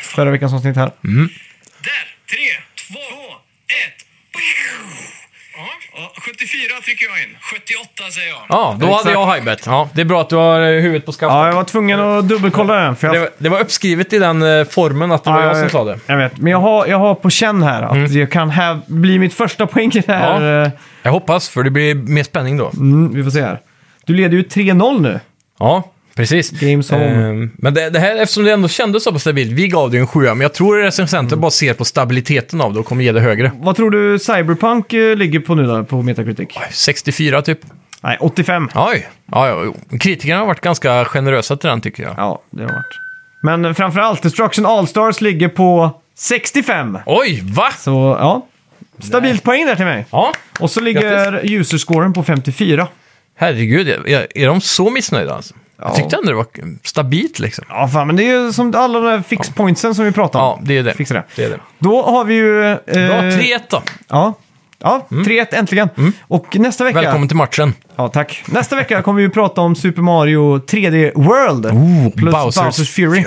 A: Förra veckans avsnitt här.
B: Mm.
D: Där! Tre, två, ett. Ja, 74 trycker jag in. 78 säger jag.
B: Ja, då hade
A: Exakt.
B: jag highbet. Ja, det är bra att du har eh, huvudet på skaftet.
A: Ja, jag var tvungen att dubbelkolla den. För jag...
B: Det, var- det var uppskrivet i den eh, formen att det var
A: Ja,
B: jag som sa det. Mm.
A: Jag vet, men jag har, jag har på känn här att jag kan här bli mitt första poäng i det här.
B: Ja.
A: eh,
B: Jag hoppas, för det blir mer spänning då.
A: Mm, vi får se här. Du leder ju 3-0 nu.
B: Ja, precis.
A: Games home.
B: Ehm, men det, det här, eftersom det ändå kändes så pass stabilt, vi gav det ju en sjua, men jag tror att
A: Mm.
B: recensenten bara ser på stabiliteten av det och kommer ge det högre.
A: Vad tror du Cyberpunk eh, ligger på nu då, på Metacritic?
B: 64 typ.
A: Nej, 85.
B: Oj! Ja, ja, jo. kritikerna har varit ganska generösa till den tycker jag.
A: Ja, det har varit. Men eh, framförallt, Destruction All-Stars ligger på 65.
B: Oj, va?
A: Så, ja. Stabilt poäng där till mig.
B: Ja,
A: Och så ligger userscoren på 54.
B: herregud. jag- jag- Är de så missnöjda alltså? Jag tyckte ändå det var stabilt liksom.
A: Ja, fan, men det är ju som alla de där fixpointsen som vi pratade om.
B: Ja, det är det.
A: Fixar det.
B: Det är det.
A: Då har vi ju... Eh,
B: Bra, 3-1 då.
A: Ja. Ja, 3-1 äntligen. Och nästa vecka...
B: Välkommen till matchen.
A: Ja, tack. Nästa vecka kommer vi ju prata om Super Mario 3D World. plus Bowser's, Fury.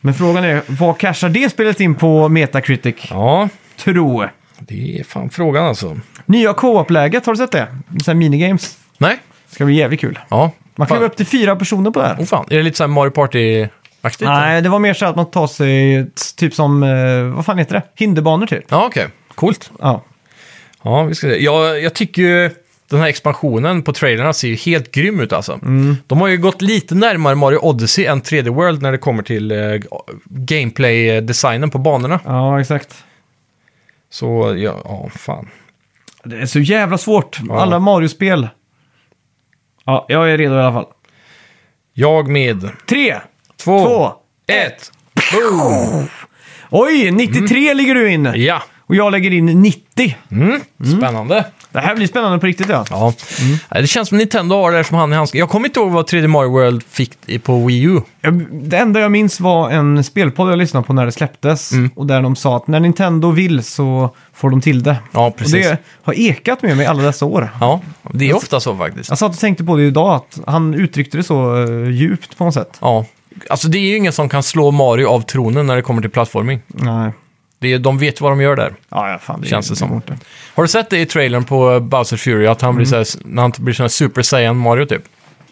A: Men frågan är, vad cashar det spelet in på Metacritic?
B: Ja,
A: Tro.
B: det är fan frågan alltså.
A: Nya co-op-läget, har du sett det? Så här minigames.
B: Nej?
A: Det ska bli jävligt kul.
B: Ja.
A: Man kan
B: Fan.
A: vara upp till fyra personer på det här.
B: Oh, fan. Är det lite så här Mario Party-aktigt?
A: Nej, det var mer så att man tar sig typ som, eh, vad fan heter det? Hinderbanor typ.
B: Ja, okej. Coolt.
A: Ja.
B: Ja, vi ska se. Jag, jag tycker ju den här expansionen på trailerna ser ju helt grym ut alltså. De har ju gått lite närmare Mario Odyssey än 3D World när det kommer till eh, gameplay-designen på banorna.
A: ja, exakt.
B: Så ja, ja fan.
A: Det är så jävla svårt. Alla Mario-spel. Ja, jag är redo i alla fall.
B: Jag med
A: Tre,
B: två,
A: två,
B: ett, boom!
A: Oj, 93 ligger du in.
B: Mm. Ja,
A: Och jag lägger in 90.
B: mm. spännande.
A: Det här blir spännande på riktigt ja.
B: Ja. Nej, Det känns som Nintendo har det här som han i handsken. Jag kommer inte ihåg vad 3D Mario World fick i- på Wii U.
A: Jag, det enda jag minns var en spelpodd jag lyssnade på när det släpptes.
B: Mm.
A: Och där de sa att när Nintendo vill så får de till det.
B: Ja,
A: Och
B: precis.
A: det har ekat med mig alla dessa år.
B: Ja, det är ofta så faktiskt.
A: Jag satt och tänkte på det idag, att han uttryckte det så eh, djupt på något sätt.
B: Ja. Alltså det är ju ingen som kan slå Mario av tronen när det kommer till plattforming.
A: Nej.
B: Det är, de vet vad de gör där.
A: Ja, ja, fan. Det
B: Känns det som.
A: bort det.
B: Har du sett det i trailern på Bowser Fury? Att han
A: Mm.
B: blir såhär, när han blir sån här Super Saiyan Mario typ.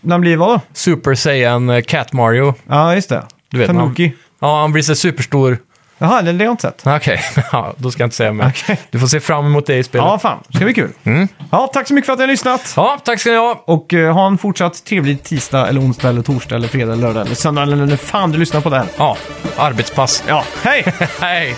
A: Den blir vad då?
B: Super Saiyan eh, Cat Mario.
A: Ja, just det.
B: Du vet,
A: Tanuki.
B: Ja, han blir såhär superstor.
A: Jaha, det det har jag inte sett.
B: Nej, Okej, ja, då ska jag inte säga mer.
A: Okej.
B: Du får se fram emot det i spelet.
A: Ja,
B: Ja,
A: fan. Det ska bli kul. Ja, tack så mycket för att ni har lyssnat.
B: tack ska ni ha.
A: Och eh, ha en fortsatt trevlig tisdag, eller onsdag, eller torsdag, eller fredag, eller lördag, eller söndag, eller när fan du lyssnar på det här.
B: Ja, arbetspass.
A: Ja, hej!
B: Hej!